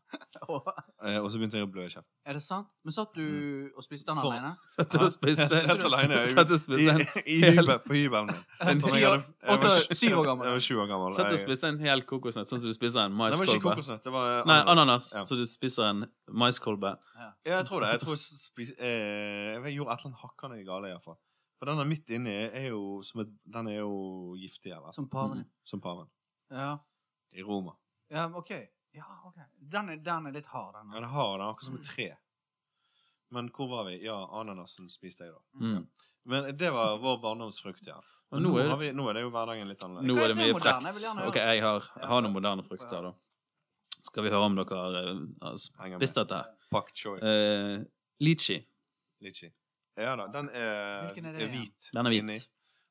Å, Eh, og så begynte jeg å blø i kjeften. Er det sant? Men satt du og spiste den For- alene? Satt og spiste Helt alene. jeg- Satt og I, spiste en i hybel, på hybelen min. En Som ti jeg år- hadde- jeg var åtte- sj- syv år gammel. Jeg var sju år gammel. Satt og Jeg- spiste en hel kokosnøtt, sånn som du spiser en Nei, Det var ikke maiskolbe. kokosnøtt, det var eh, Nei, ananas. Ja. Så du spiser en maiskolbe. Ja, jeg tror det. Jeg tror jeg, spis, eh, jeg gjorde et eller annet hakkende gale, iallfall. For den er midt inni er jo som et, Den er jo giftig, eller? Som paven? Som paven. Ja. I Roma. ja, OK. Ja, ok. Den er, den er litt hard, den. Ja, det har den, akkurat som et Mm. tre. Men hvor var vi? Ja, ananasen spiste jeg, da. Mm. Men det var vår barndomsfrukt, ja. Og Men nå nå, er har vi, nå er det jo hverdagen litt annerledes. Nå Hva er er det så mye moderne? frekt. Jeg vil gjerne høre. Ok, jeg har, jeg har noen moderne frukter, da. Skal vi høre om dere har eh, har Henger med. spist dette her. Pak choi. Eh, Litchi. Litchi. Ja da. Den er, Hvilken er er, det igjen? hvit. Den er inni. hvit.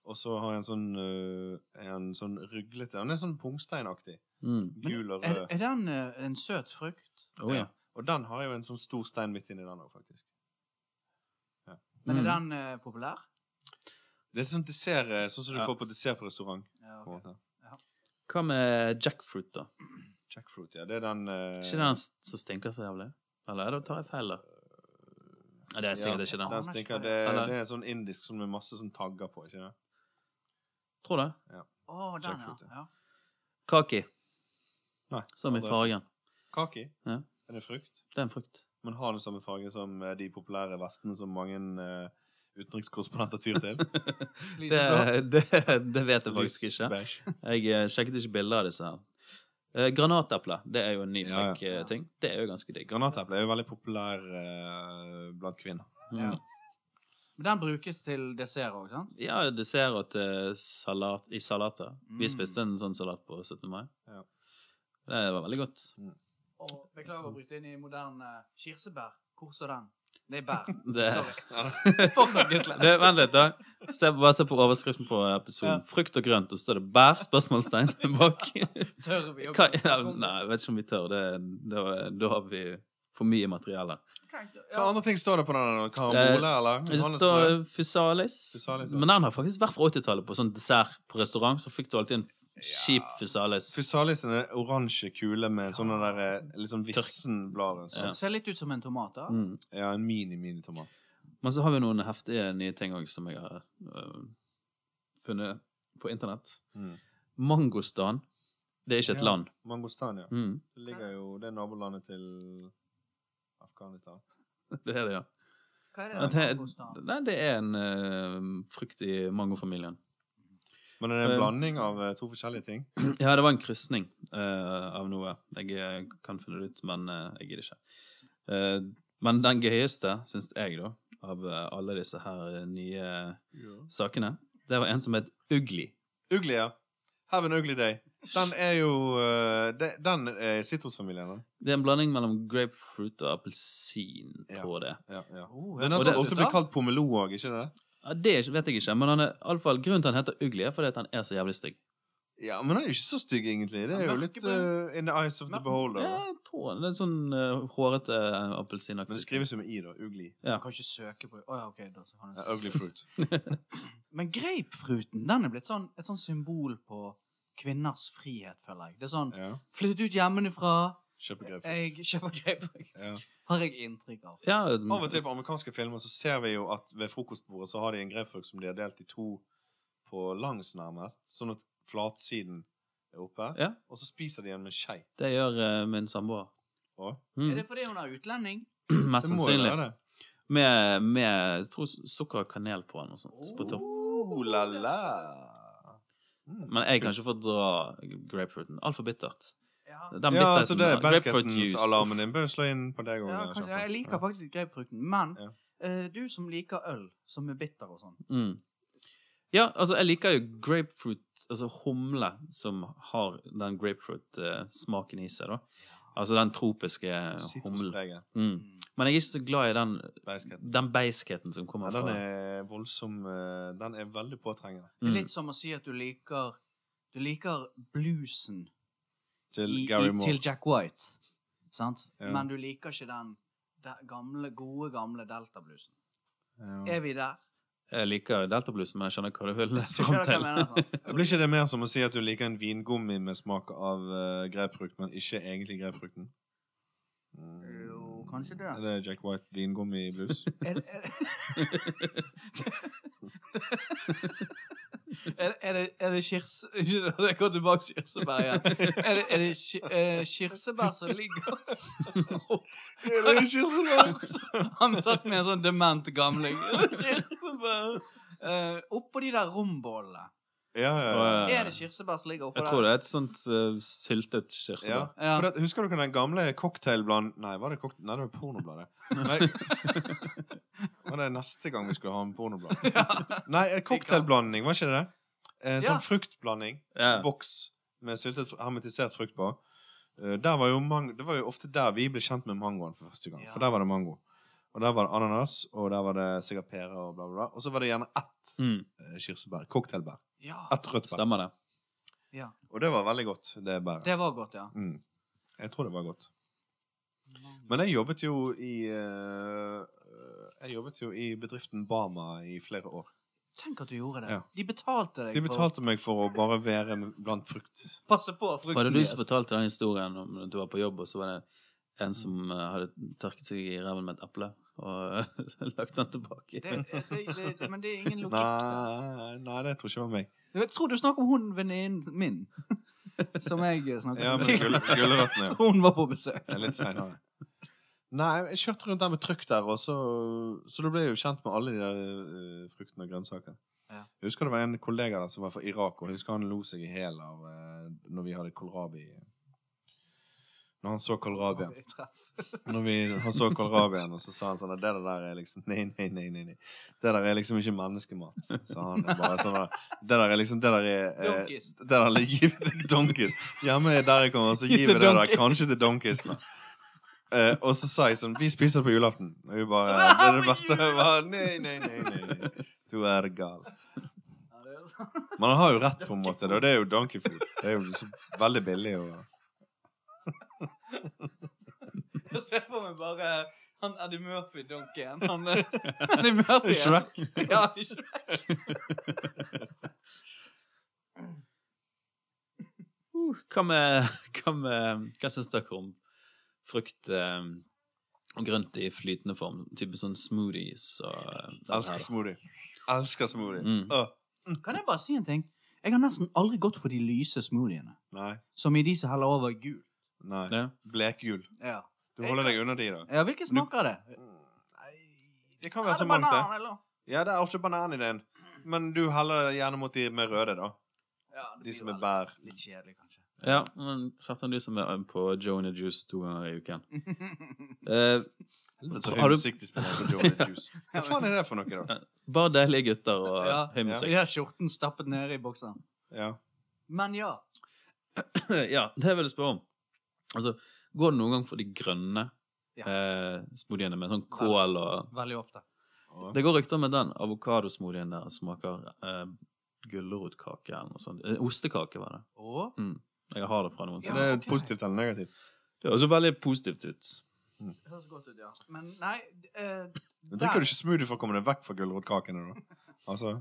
Og så har jeg en sånn, eh, en sånn ruglete Den er sånn pungsteinaktig. Mm. Gul og Er, rød. er den eh, en søt frukt? Oh, ja. Ja. Og den har jo en sånn stor stein midt inni den òg, faktisk. Men Mm. er den eh, populær? Det er sånn dessert, eh, sånn som du Ja. får på dessert på restaurant. Ja, på en ok. måte. Hva med jackfruit, da? Jackfruit, ja. Det er den eh, Er ikke den som stinker så jævlig? Eller er det- tar jeg feil, da? Nei, det er sikkert ikke den. Den Anders, stinker, det, Eller- det er sånn indisk sånn med masse sånn tagger på. ikke det? Tror Å, det. den, ja. Jackfruit, ja. ja. Kaki. Nei, Som i aldri. fargen. Kaki. Ja. Er det frukt? Det er en frukt. Men har den samme farge som eh, de populære vestene som mange eh, utenrikskorrespondenter tyr til? Det, Lyseblå. det, det vet jeg faktisk Lys ikke. beige. Jeg eh, sjekket ikke bilder av disse. her. Eh, Granateple, det er jo en ny Ja, ja. frekk eh, ting. Det er jo ganske digg. Granateple er jo veldig populær eh, blant kvinner. Ja. Mm. Men den brukes til dessert òg, sant? Ja, dessert til eh, salat, i salater. Vi Mm. spiste en sånn salat på 17. mai. Ja. Det var veldig godt. Og beklager å bryte inn i moderne kirsebær. Hvor står den? Det er bær. Det, Sorry. Fortsett, Gisle. det, vent litt, da. Se, bare se på overskriften på eh, episoden. Ja. Frukt og grønt, og så står det bær? Spørsmålstegn bak. Tør vi å Hva, ja, nei, jeg vet ikke om vi tør. Det, da, da har vi for mye materiale. Hva Ja. andre ting står det på den? Karambole, eller? Eh, Det Johannes- står Fusalis. Physalis, ja. Men den har faktisk vært fra 80-tallet. På sånn dessert på restaurant så fikk du alltid en kjip Fusalis. Fusalisen er en oransje kule med sånne der eh, litt sånn vissen blad rundt. Ja. Ser litt ut som en tomat, da. Mm. Ja, en mini-mini-tomat. Men så har vi noen heftige nye ting òg som jeg har øh, funnet på internett. Mm. Mangostan. Det er ikke et Ja. land. Mangostan, ja. Mm. Det ligger jo Det er nabolanet til Afghanistan. Det er det, ja. Hva Ja, er det det? er- mangostan? Nei, det er en øh, frukt i mangofamilien. Men det er Eh. en blanding av eh, to forskjellige ting. Ja, det var en krysning øh, av noe. Jeg eh, kan finne det ut, men eh, jeg gidder ikke. Eh, men den gøyeste, syns jeg, da, av eh, alle disse her eh, nye sakene, det var en som het Ugly. Ugly, ja. Have an ugly day. Den er jo eh, de- Den er sitrusfamilien, den. Det er en blanding mellom grapefruit og appelsin, Ja. tror jeg det. Ja, ja. Oh, Den er Og som det- ofte blir kalt pomelo òg, ikke det? Ja, det er ikke- vet jeg ikke, men han er, i alle fall, grunnen til han heter Ugly, er fordi at han er så jævlig stygg. Ja, men den er jo ikke så stygg, egentlig. Det er jo litt Mørkebrun. eh, in the eyes of the Mørk- beholder. da. Jeg tror han det er sånn eh, hårete eh, appelsinaktig. Men det skrives jo med i, da. Ugly. Du kan ikke søke på Å ja, OK. Da, så kan Ja, du... ugly fruit. Men grapefruten den er blitt sånn, et sånn symbol på kvinners frihet, føler jeg. Det er sånn Ja. Flyttet ut hjemmefra, Kjøper grapefruit. jeg kjøper grapefruit. Ja. Har jeg inntrykk av. Ja, Av og til på amerikanske filmer så ser vi jo at ved frokostbordet så har de en grapefrukt som de har delt i to på langs, nærmest. Sånn at flatsiden er oppe. Ja. Og så spiser de den med skei. Det gjør eh, min samboer. Og- Er Mm. det fordi hun er utlending? Mest Det må jo sannsynlig. være det. Med, med jeg tror, sukker og kanel på den og sånt, på topp. Oh, la, la. Mm. Men jeg kan ikke få dra grapefruiten. Altfor bittert. Ja. Den ja, altså det er sånn grapefruit juice. basketens-alarmen din. Bør jo slå inn på deg òg. Ja, kanskje, jeg liker faktisk grapefrukten, men Ja. eh, du som liker øl, som er bitter og sånn Mm. Ja, altså, jeg liker jo grapefruit, altså humle, som har den grapefruit-smaken i seg, da. Altså den tropiske humlen. Sitruspreget. Mm. Men jeg er ikke så glad i den, Basket. den beiskheten som Ja, kommer den fra er voldsom eh, Den er veldig påtrengende. Det er mm. litt som å si at du liker Du liker bluesen Til i, i, Gary Moore. til Jack White, sant? Ja. Men du liker ikke den, de- gamle, gode, gamle delta-bluesen. ja. Er vi der? Jeg liker deltablusen, men jeg skjønner hva du vil fram Skjønner du hva jeg mener? sånn. til. Sant? Blir ikke det mer som å si at du liker en vingummi med smak av eh, grapefrukt, men ikke egentlig grapefrukten? Mm. Jo, kanskje det. Er det Jack White vingummi-blues? Er, er, er, er det, er det kirse... Jeg går tilbake til kirsebær igjen. Er det, er det ki, eh, kirsebær som ligger er det kirsebær? Han tatt med en sånn dement gamling. Kirsebær. Eh, oppå de der rombollene. Ja, ja, ja. Og, eh, Er det kirsebær som ligger oppå Jeg tror der? det er et sånt eh, syltet ja. kirsebær. Ja. For at, husker du ikke den gamle cocktailbladen Nei, var det cocktail... Nei, det var pornobladet. Nei. Var det neste gang vi skulle ha en pornoblad? Nei, eh, cocktailblanding, var ikke det det? Eh, sånn Ja. fruktblanding. Ja. boks med syltet, fr- hermetisert frukt på. Eh, Der var jo mang det var jo ofte der vi ble kjent med mangoen for første gang. Ja. For der var det mango. Og der var det ananas, og der var det sikkert pære og bla, bla, bla. Og så var det gjerne ett Mm. eh, eh, kirsebær. Cocktailbær. Ja, Ett rødt bær. Stemmer det. Og det var veldig godt, det bæret. det var godt, ja. Mm. Jeg tror det var godt. Men jeg jobbet jo i eh, Jeg jobbet jo i bedriften Bama i flere år. Tenk at du gjorde det. Ja. De betalte deg De betalte meg for å bare være blant frukt. for å passe på frukten Var det du deres. som fortalte den historien om når du var på jobb, og så var det en som eh, hadde tørket seg i ræven med et eple og lagt den tilbake? det, det, det, det, Men det er ingen logikk der. Nei, nei, det tror jeg ikke var meg. Jeg tror du snakker om hun venninnen min. Som jeg snakker Ja, om. men gull- Gulrøttene. Jeg tror hun var på besøk. Det er litt seinere. Nei, jeg kjørte rundt der med trykk der, og så, så da ble jeg jo kjent med alle de der eh, fruktene og grønnsakene. Ja. Jeg husker det var en kollega der som var fra Irak, og jeg husker han lo seg i hjel av eh, når vi hadde kålrabi. Når han så kålrabien. Treff. Når vi, han så kålrabien, og så sa han sånn at det der er liksom Nei, nei, nei. nei, nei. Det der er liksom ikke menneskemat. Så han er bare sånn der, Det der er liksom Det der er eh, Donkeys. Det der er givet til donkeys. Hjemme er der jeg kommer, og så gir vi Til det der donkeys. kanskje til donkeys. da. Eh, og så sa jeg sånn Vi spiser det på julaften. Og vi bare Det er det beste. Jeg bare, nei, nei, nei, nei, nei. Du er gal. Ja, det er sant. Men han har jo rett, på en måte. da. Det er jo donkey food. Det er jo så veldig billig. Og... Jeg ser på meg bare han Eddie Murphy-donken. Han eh, Eddie Murphy. er- Shrek. Ja, Shrek. Uh, Hva med Hva, med, hva syns dere om frukt eh, og grønt i flytende form? Type sånn smoothies og eh, Elsker smoothie. Elsker smoothie. Mm. Åh, Kan jeg bare si en ting? Jeg har nesten aldri gått for de lyse smoothiene. nei. Som i de som heller over gul. Nei. Ja. Blekgul. Ja. Du holder deg unna de, da. ja hvilke smaker er det? Nei, det kan være så mangt, det. Ja, det er ofte banan i den. Men du heller gjerne mot de med røde, da. Ja, De som er bær. Litt kjedelig, kanskje. ja, men Kjartan, du som er på Joe and the Juice to ganger i uken. Eh, Helvete, så Har høy du- musikk de spiller på Joe and the Juice. Hva faen er det for noe, da? bare deilige gutter og Ja. høy Så musikk. jeg har skjorten stappet nede i boksen. Ja. Men ja. ja, det vil jeg spørre om. Altså, går det noen gang for de grønne Ja. eh, smoothiene med sånn kål og Veldig ofte. Og- Det går rykter om at den avokadosmoothien der smaker eh, gulrotkake eller noe sånt. Eh, ostekake, var det. Og Jeg har det fra noen. Så Så det er Ja, ok. positivt eller negativt? det høres jo veldig positivt ut. Det høres godt ut, ja. Men nei eh, Men drikker du ikke smoothie for å komme deg vekk fra gulrotkakene, da? Altså,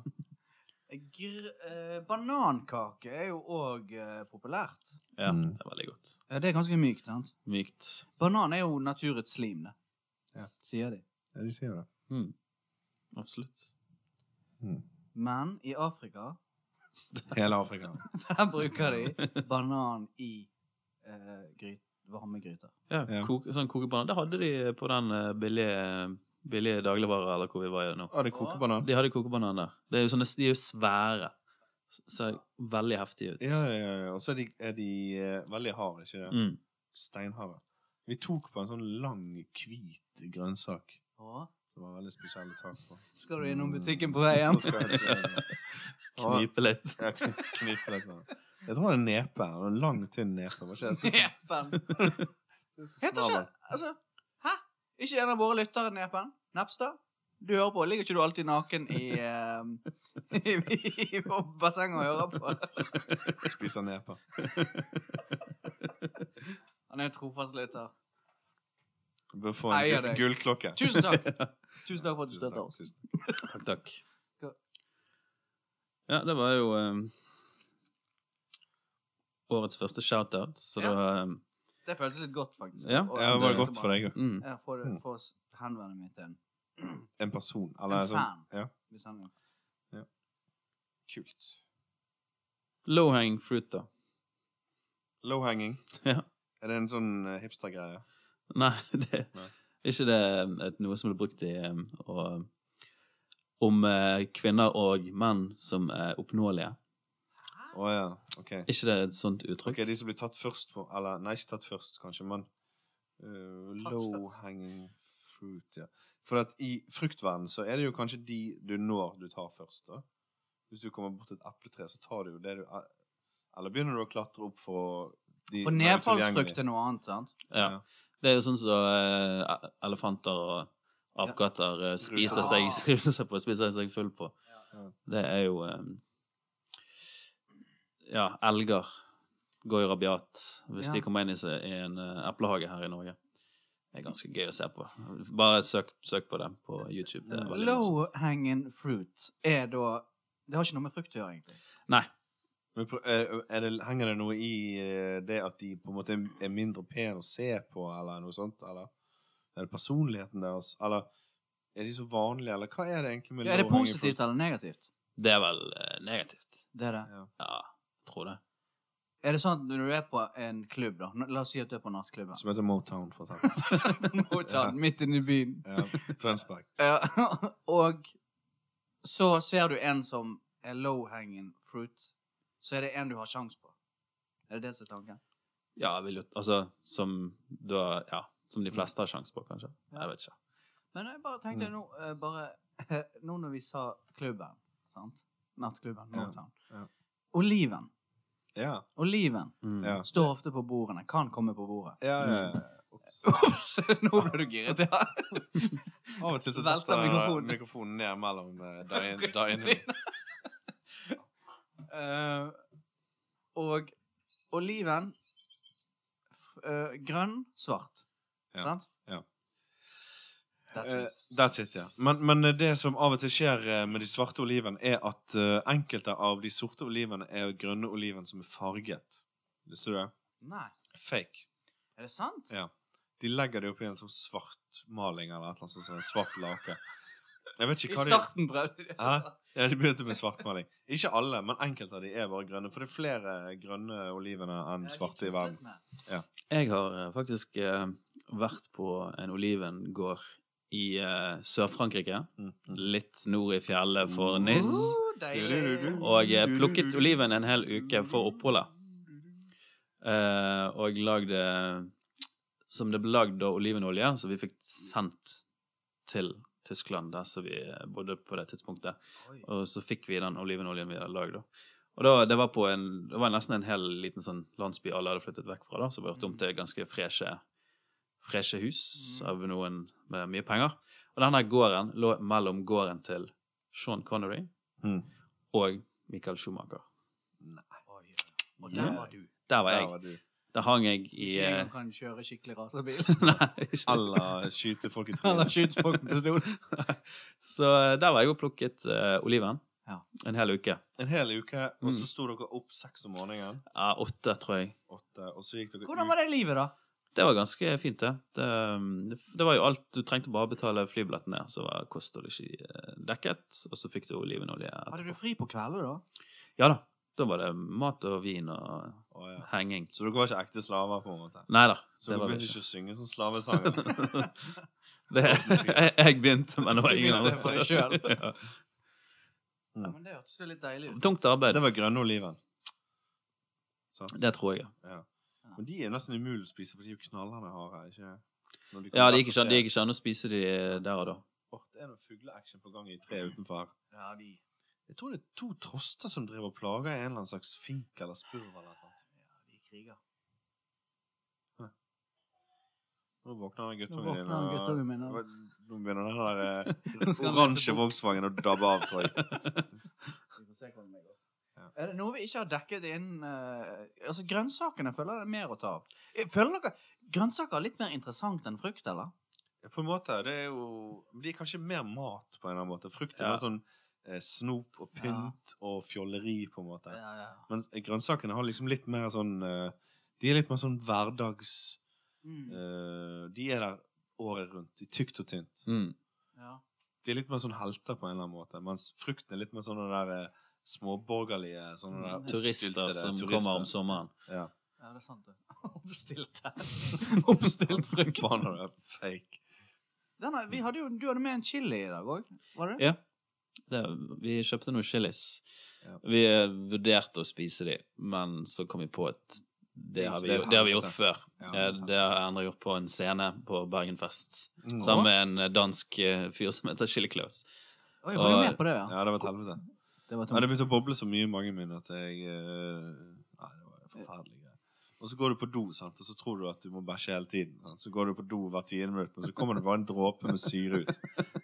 gr eh, Banankake er jo òg eh, populært. Ja, Mm. det er veldig godt. Ja, det er ganske mykt, sant? Mykt. Banan er jo naturets slim, det. Ja. Sier de. ja, de sier det. Mm. Absolutt. Mm. Men i Afrika, Hele Afrika. der bruker de banan i eh, gryt, varme gryter. Ja, Ja. Koke, sånn kokebanan. Det hadde de på den eh, billige, billige dagligvare, eller hvor vi var nå. Å, Ah, det koker banan. De hadde kokebanan der. Det er jo sånne, de er jo svære. Ser veldig heftige ut. Ja, ja, ja, ja. Og så er de, er de eh, veldig harde, ikke det? Mm. Steinharde. Vi tok på en sånn lang, hvit grønnsak. Og Det var veldig spesielle tak på. skal du innom butikken på vei hjem? Så skal jeg til- Ja. Knipe litt. Ja, kn- knipe litt med den. Jeg tror det er en nepe. det var En lang, tynn nepe. Var ikke det? Jeg Nepen. tror- så Heter ikke snarere. Altså, hæ? Ikke en av våre lyttere, Nepen? Nepstad? Du hører på. Ligger ikke du alltid naken i, eh, i, i, i bassenget og hører på? Spiser nepe. Han er en trofast lytter. Du bør få Eier en deg. gull- gullklokke. Tusen takk. Tusen takk for at du Tusen støtter takk, oss. tusen takk. Takk, takk. Hva- Ja, det var jo eh, årets første shoutout, så Ja. da eh, Det føltes litt godt, faktisk. Ja, Og- eh, Ja, det var Det er godt for deg òg. mm. Ja, få Mm. få s- henvende meg til en. En person. Eller En sånn. fan. Ja. Hvis han Kult. Low-hanging fruit, da. Low hanging. Ja. Er det en sånn eh, hipstergreie? Nei, det Nei. ikke det et, noe som ble brukt i eh, å- om eh, kvinner og menn som er oppnåelige. Å ja. OK. ikke det et sånt uttrykk? Ok, De som blir tatt først på Eller nei, ikke tatt først, kanskje, men eh, Tatt low først. hanging fruit, ja. For at i fruktverden så er det jo kanskje de du når du tar først, da. Hvis du kommer bort til et epletre, så tar du jo det du e, Eller begynner du å klatre opp for de For nedfallsfrukt er noe annet, sant? Ja. Ja. Det er jo sånn som eh, elefanter og apekatter eh, spiser, Ja. seg, ruser seg på, spiser seg full på. Ja. Det er jo eh, Ja, elger går jo rabiat hvis Ja. de kommer inn i, seg, i en eh, eplehage her i Norge. Det er ganske gøy å se på. Bare søk, søk på det på YouTube. Det er veldig morsomt. Low hanging fruit er da Det har ikke noe med frukt å gjøre, egentlig. Nei. Men pr- er er det, henger det noe i eh, det at de på en måte er mindre pen å se på, eller noe sånt? Eller er det personligheten deres? Eller er de så vanlige, eller hva er det egentlig med Ja, er det low hanging fruit? positivt eller negativt? Det er vel eh, negativt. Det er det. Ja. Ja, jeg tror det. Er det sånn at når du er på en klubb, da n- La oss si at du er på nattklubben. Som heter Motown, for eksempel. Motown, Midt inne i byen. Ja, Tønsberg. Ja, og så ser du en som er low hanging fruit, så er det en du har sjans på. Er det det som er tanken? Ja, jeg vil jo Altså, som du har Ja, som de Mm. fleste har sjanse på, kanskje. Jeg vet ikke. Men jeg bare tenkte nå, eh, bare Nå når vi sa klubben, sant? Nattklubben, Ja, Motown. ja. Oliven. Ja. Oliven Mm. Ja. Eh, står ofte på bordene. Kan komme på bordet. Ja, ja, ja. Ops! Nå ble du giret, ja. Av og til så Mm. Velter detter mikrofonen. mikrofonen. ned mellom eh, dyna- Brystene dynene. Eh, og oliven f- eh, grønn, svart. Ja, Sant? ja. That's Eh, it. That's it, ja. Men, men eh, det som av og til skjer eh, med de svarte olivene, er at eh, enkelte av de sorte olivene er grønne oliven som er farget. Visste du det? Nei, Fake. er det sant? Ja. De legger det oppi en sånn svart maling eller et eller annet sånt, sånn en svart lake. Jeg vet I ikke hva de... starten prøvde de det. Hæ? Ja, de begynte med svartmaling. Ikke alle, men enkelte av de er bare grønne. For det er flere grønne olivene enn Ja, de svarte i kuttet verden. med. Jeg har eh, faktisk eh, vært på en olivengård i eh, Sør-Frankrike. Mm, mm. Litt nord i fjellet for Nis. Oh, deilig. Og eh, plukket oliven en hel uke for oppholdet. Eh, og lagde Som det ble lagd av olivenolje, så vi fikk sendt til Tyskland, der som vi eh, bodde på det tidspunktet. Oi. Og så fikk vi den olivenoljen vi hadde lagd. da. Og da, det, var på en, det var nesten en hel liten sånn landsby alle hadde flyttet vekk fra, da, som ble gjort om til ganske freshe, freshe hus Mm. av noen med mye penger. Og denne gården lå mellom gården til Sean Connery Mm. og Michael Schumacher. Oi, ja. Og der Ja. var du. Der var Der jeg. var du. Der hang jeg i Ikke eh, engang kan kjøre skikkelig raserbil. Nei, ikke. Eller skyte folk i Eller trynet. skyte folk med pistol. Så eh, der var jeg og plukket eh, oliven Ja. en hel uke. En hel uke, og så Mm. sto dere opp seks om morgenen. Ja, åtte, tror jeg. Åtte, og så gikk dere Hvordan var det livet, da? Det var ganske fint, det. Det, um, det, f- det var jo alt. Du trengte bare betale flybillettene, så var kost og losji eh, dekket. Og så fikk du olivenolje. etterpå. Hadde du fri på kvelder, da? Ja da. Da var det mat og vin og Å, ja. henging. Så dere var ikke ekte slaver, på en måte? Nei da. Så Det dere var vi begynte ikke. ikke å synge sånn slavesanger? Det, jeg, jeg begynte, men det var Du begynte ingen andre. for deg som- selv. Ja. Ja, men Det hørtes jo litt deilig ut. Tungt arbeid. Det var grønne oliven. Det tror jeg. ja. Men de er jo nesten umulig å spise, for de er jo knallende harde. ikke? Når Ja, det gikk ikke an, det gikk ikke an å spise de der og da. Å, Det er noe fugleaction på gang i tre utenfor her. Ja, de... Jeg tror det er to troster som driver og plager en eller annen slags fink eller spurv eller noe sånt. Ja, de kriger. Nå våkner han Nå guttungen våkner din. han guttungen min, og- Nå begynner den der eh, Nå skal han lese oransje bok. Volkswagen å dabbe av, tror jeg. Vi får se hvordan det går. Ja. Er det noe vi ikke har dekket inn eh, Altså, grønnsakene føler jeg det er mer å ta av. Eh, Føler dere grønnsaker er litt mer interessant enn frukt, eller? Ja, På en måte, det er jo men De er kanskje mer mat, på en eller annen måte. Frukt er Ja. mer sånn eh, snop og pynt og fjolleri, på en måte. ja. Men eh, grønnsakene har liksom litt mer sånn eh, De er litt mer sånn hverdags Mm. eh, De er der året rundt, i tykt og tynt. Mm. ja. De er litt mer sånn helter på en eller annen måte, mens frukten er litt mer sånn den der eh, småborgerlige sånne der Mm, Turister oppstyltede som turister. kommer om sommeren. Ja. Ja, det er sant, det. Oppstilt her. Oppstilt frukt. Banner er fake. Denne, vi hadde jo, du hadde med en chili i dag òg, var det? Ja. Det, vi kjøpte noen chilis. Ja. Vi eh, vurderte å spise de, men så kom vi på at det har vi, Det er gjort- det har vi gjort helvete. før. Ja. Eh, Det har Endre gjort på en scene på Bergenfest Mm. sammen med en eh, dansk eh, fyr som heter Chili Claus. Oi, var du Og- med på det, ja? Ja, det var et helvete. Det var Nei, det tungt. begynte å boble så mye i magen min at jeg eh, Nei, det var forferdelig greier. Og så går du på do, sant? og så tror du at du må bæsje hele tiden. Sant? Så går du på do hvert tiende minutt, men så kommer det bare en dråpe med syre ut.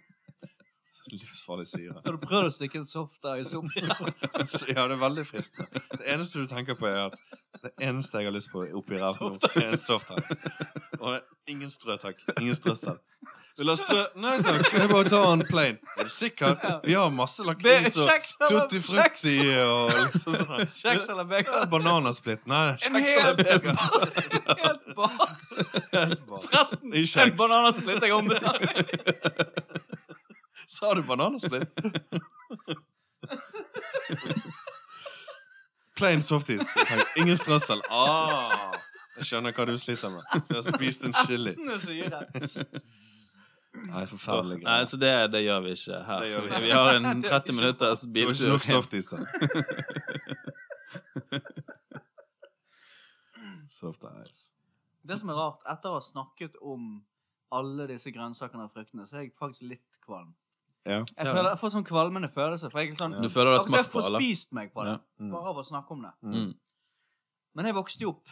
Livsfarlig syre. Har du prøvd å stikke en soft ice opp? Så, ja, det er veldig fristende. Det eneste du tenker på, er at det eneste jeg har lyst på oppi ræva nå, Soft ice. er en soft ice. Og det, ingen strø, takk. Ingen strøssel. Vil du ha strø? Nei takk. Jeg bare tar en plain. Er du sikker? Vi har masse lakris og Kjeks eller tutti frutti og liksom sånn. Kjeks eller Ja, bacon? Bananasplitt. Nei, En kjeks hel- eller bacon. Helt bar. Forresten, I en kjeks. bananasplitt jeg ombestemmer. Sa du bananasplitt? Plain softis. Jeg tenker, Ingen strøssel. Ah, jeg skjønner hva du sliter med. Du har spist en chili. Hersende syre. Nei, Åh, forferdelig Nei, greier. så det, det gjør vi ikke her. Det gjør vi fordi ikke. vi har en 30 ikke minutters Det var ikke biltur. nok softis, da. Soft ice. Det som er rart, etter å ha snakket om alle disse grønnsakene og fruktene, så er jeg faktisk litt kvalm. Ja. Jeg, Ja. føler, jeg får sånn kvalmende følelse. For jeg er sånn, Ja. Du føler du har altså, jeg smakt på får alle? spist meg på det, Ja. Mm. bare av å snakke om det. Mm. Men jeg vokste jo opp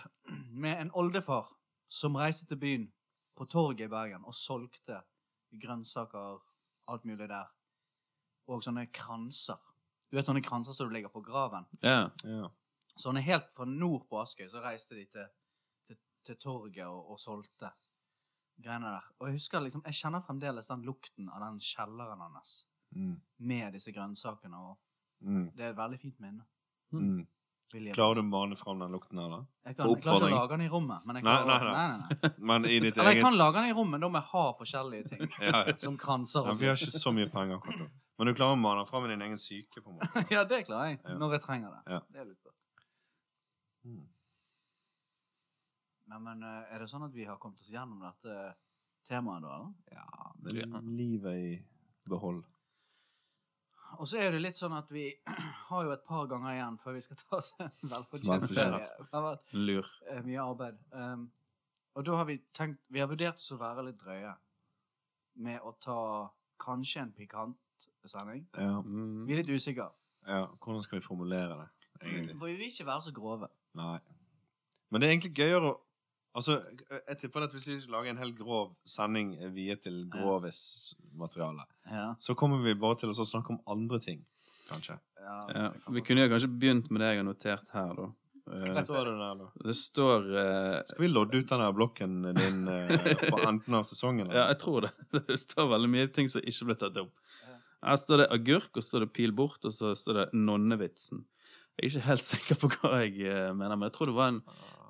med en oldefar som reiste til byen på torget i Bergen og solgte grønnsaker, alt mulig der, og sånne kranser. Du vet sånne kranser som du legger på graven? Ja. Ja. Sånne helt fra nord på Askøy, så reiste de til, til, til torget og, og solgte greiene der. Og jeg husker liksom, jeg kjenner fremdeles den lukten av den kjelleren hans Mm. med disse grønnsakene, og Mm. det er et veldig fint minne. Mm. Vil jeg- Klarer du å mane fram den lukten her, da? Jeg, kan, jeg klarer ikke Oppfordring. å lage den i rommet, men jeg Nei, klarer, nei, nei. nei, nei. Men i ditt Eller jeg eget kan lage den i rommet, da må jeg ha forskjellige ting. ja, ja. Som kranser Ja, og Vi har sånn. ikke så mye penger akkurat nå. Men du klarer å mane fram din egen syke, på en måte. sånn. Ja, det klarer jeg. Ja. Når jeg trenger det. Ja. det er litt bra. Mm. Nei, men eh, er det sånn at vi har kommet oss gjennom dette temaet, da? eller? Ja, Ja. men livet i behold. Og så er det litt sånn at vi har jo et par ganger igjen før vi skal ta oss en velfortjent Velfortjent. ferie. Det har vært Lur. eh, mye arbeid. Um, og da har vi tenkt Vi har vurdert oss å være litt drøye med å ta kanskje en pikant sending. Ja. Vi er litt usikre. ja, hvordan skal vi formulere det, egentlig? For vi vil ikke være så grove. Nei. Men det er egentlig gøyere å Altså, jeg jeg tipper at hvis vi skulle lage en helt grov sending viet til grovismateriale, Ja. så kommer vi bare til å snakke om andre ting, kanskje. Ja, Ja. det kan Vi godt kunne jo kanskje begynt med det jeg har notert her, da. Eh, Står det der, da? Det står eh, Skal vi lodde ut den der blokken din eh, på enden av sesongen? Ja, eller? jeg tror det. Det står veldig mye ting som ikke ble tatt opp. Ja. Her står det agurk, og så står det pil bort, og så står det nonnevitsen. Jeg er ikke helt sikker på hva jeg eh, mener, men jeg tror det var en,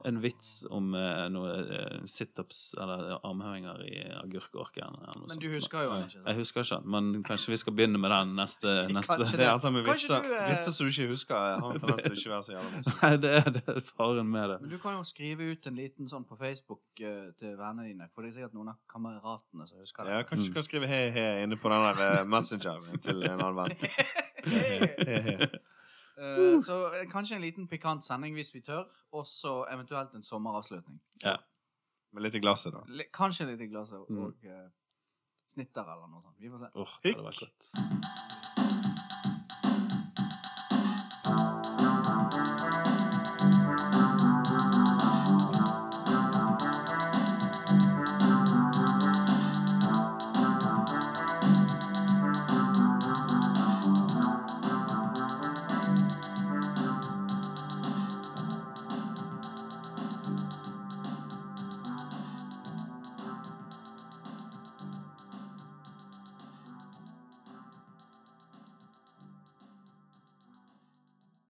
en vits om eh, noe eh, situps eller armhevinger i agurkorken. eller noe Men sånt. du husker jo den ikke. sant? Jeg husker ikke den, men kanskje vi skal begynne med den neste, neste. Kanskje Det er dette med Kanskje vitser. du, eh, Vitser som du ikke husker, jeg har en tendens til å ikke være så jævla morsom. Nei, det er, det er faren med det. Men du kan jo skrive ut en liten sånn på Facebook eh, til vennene dine, for det er sikkert noen av kameratene som husker Ja, det. kanskje du kan skrive he he inne på den der eh, messengeren til en annen venn. He he. Eh, så eh, kanskje en liten pikant sending hvis vi tør, og så eventuelt en sommeravslutning. Med litt i glasset, da. Li- Kanskje litt i glasset og, Mm. og eh, snitter eller noe sånt. Vi får se. Åh, det hadde vært godt.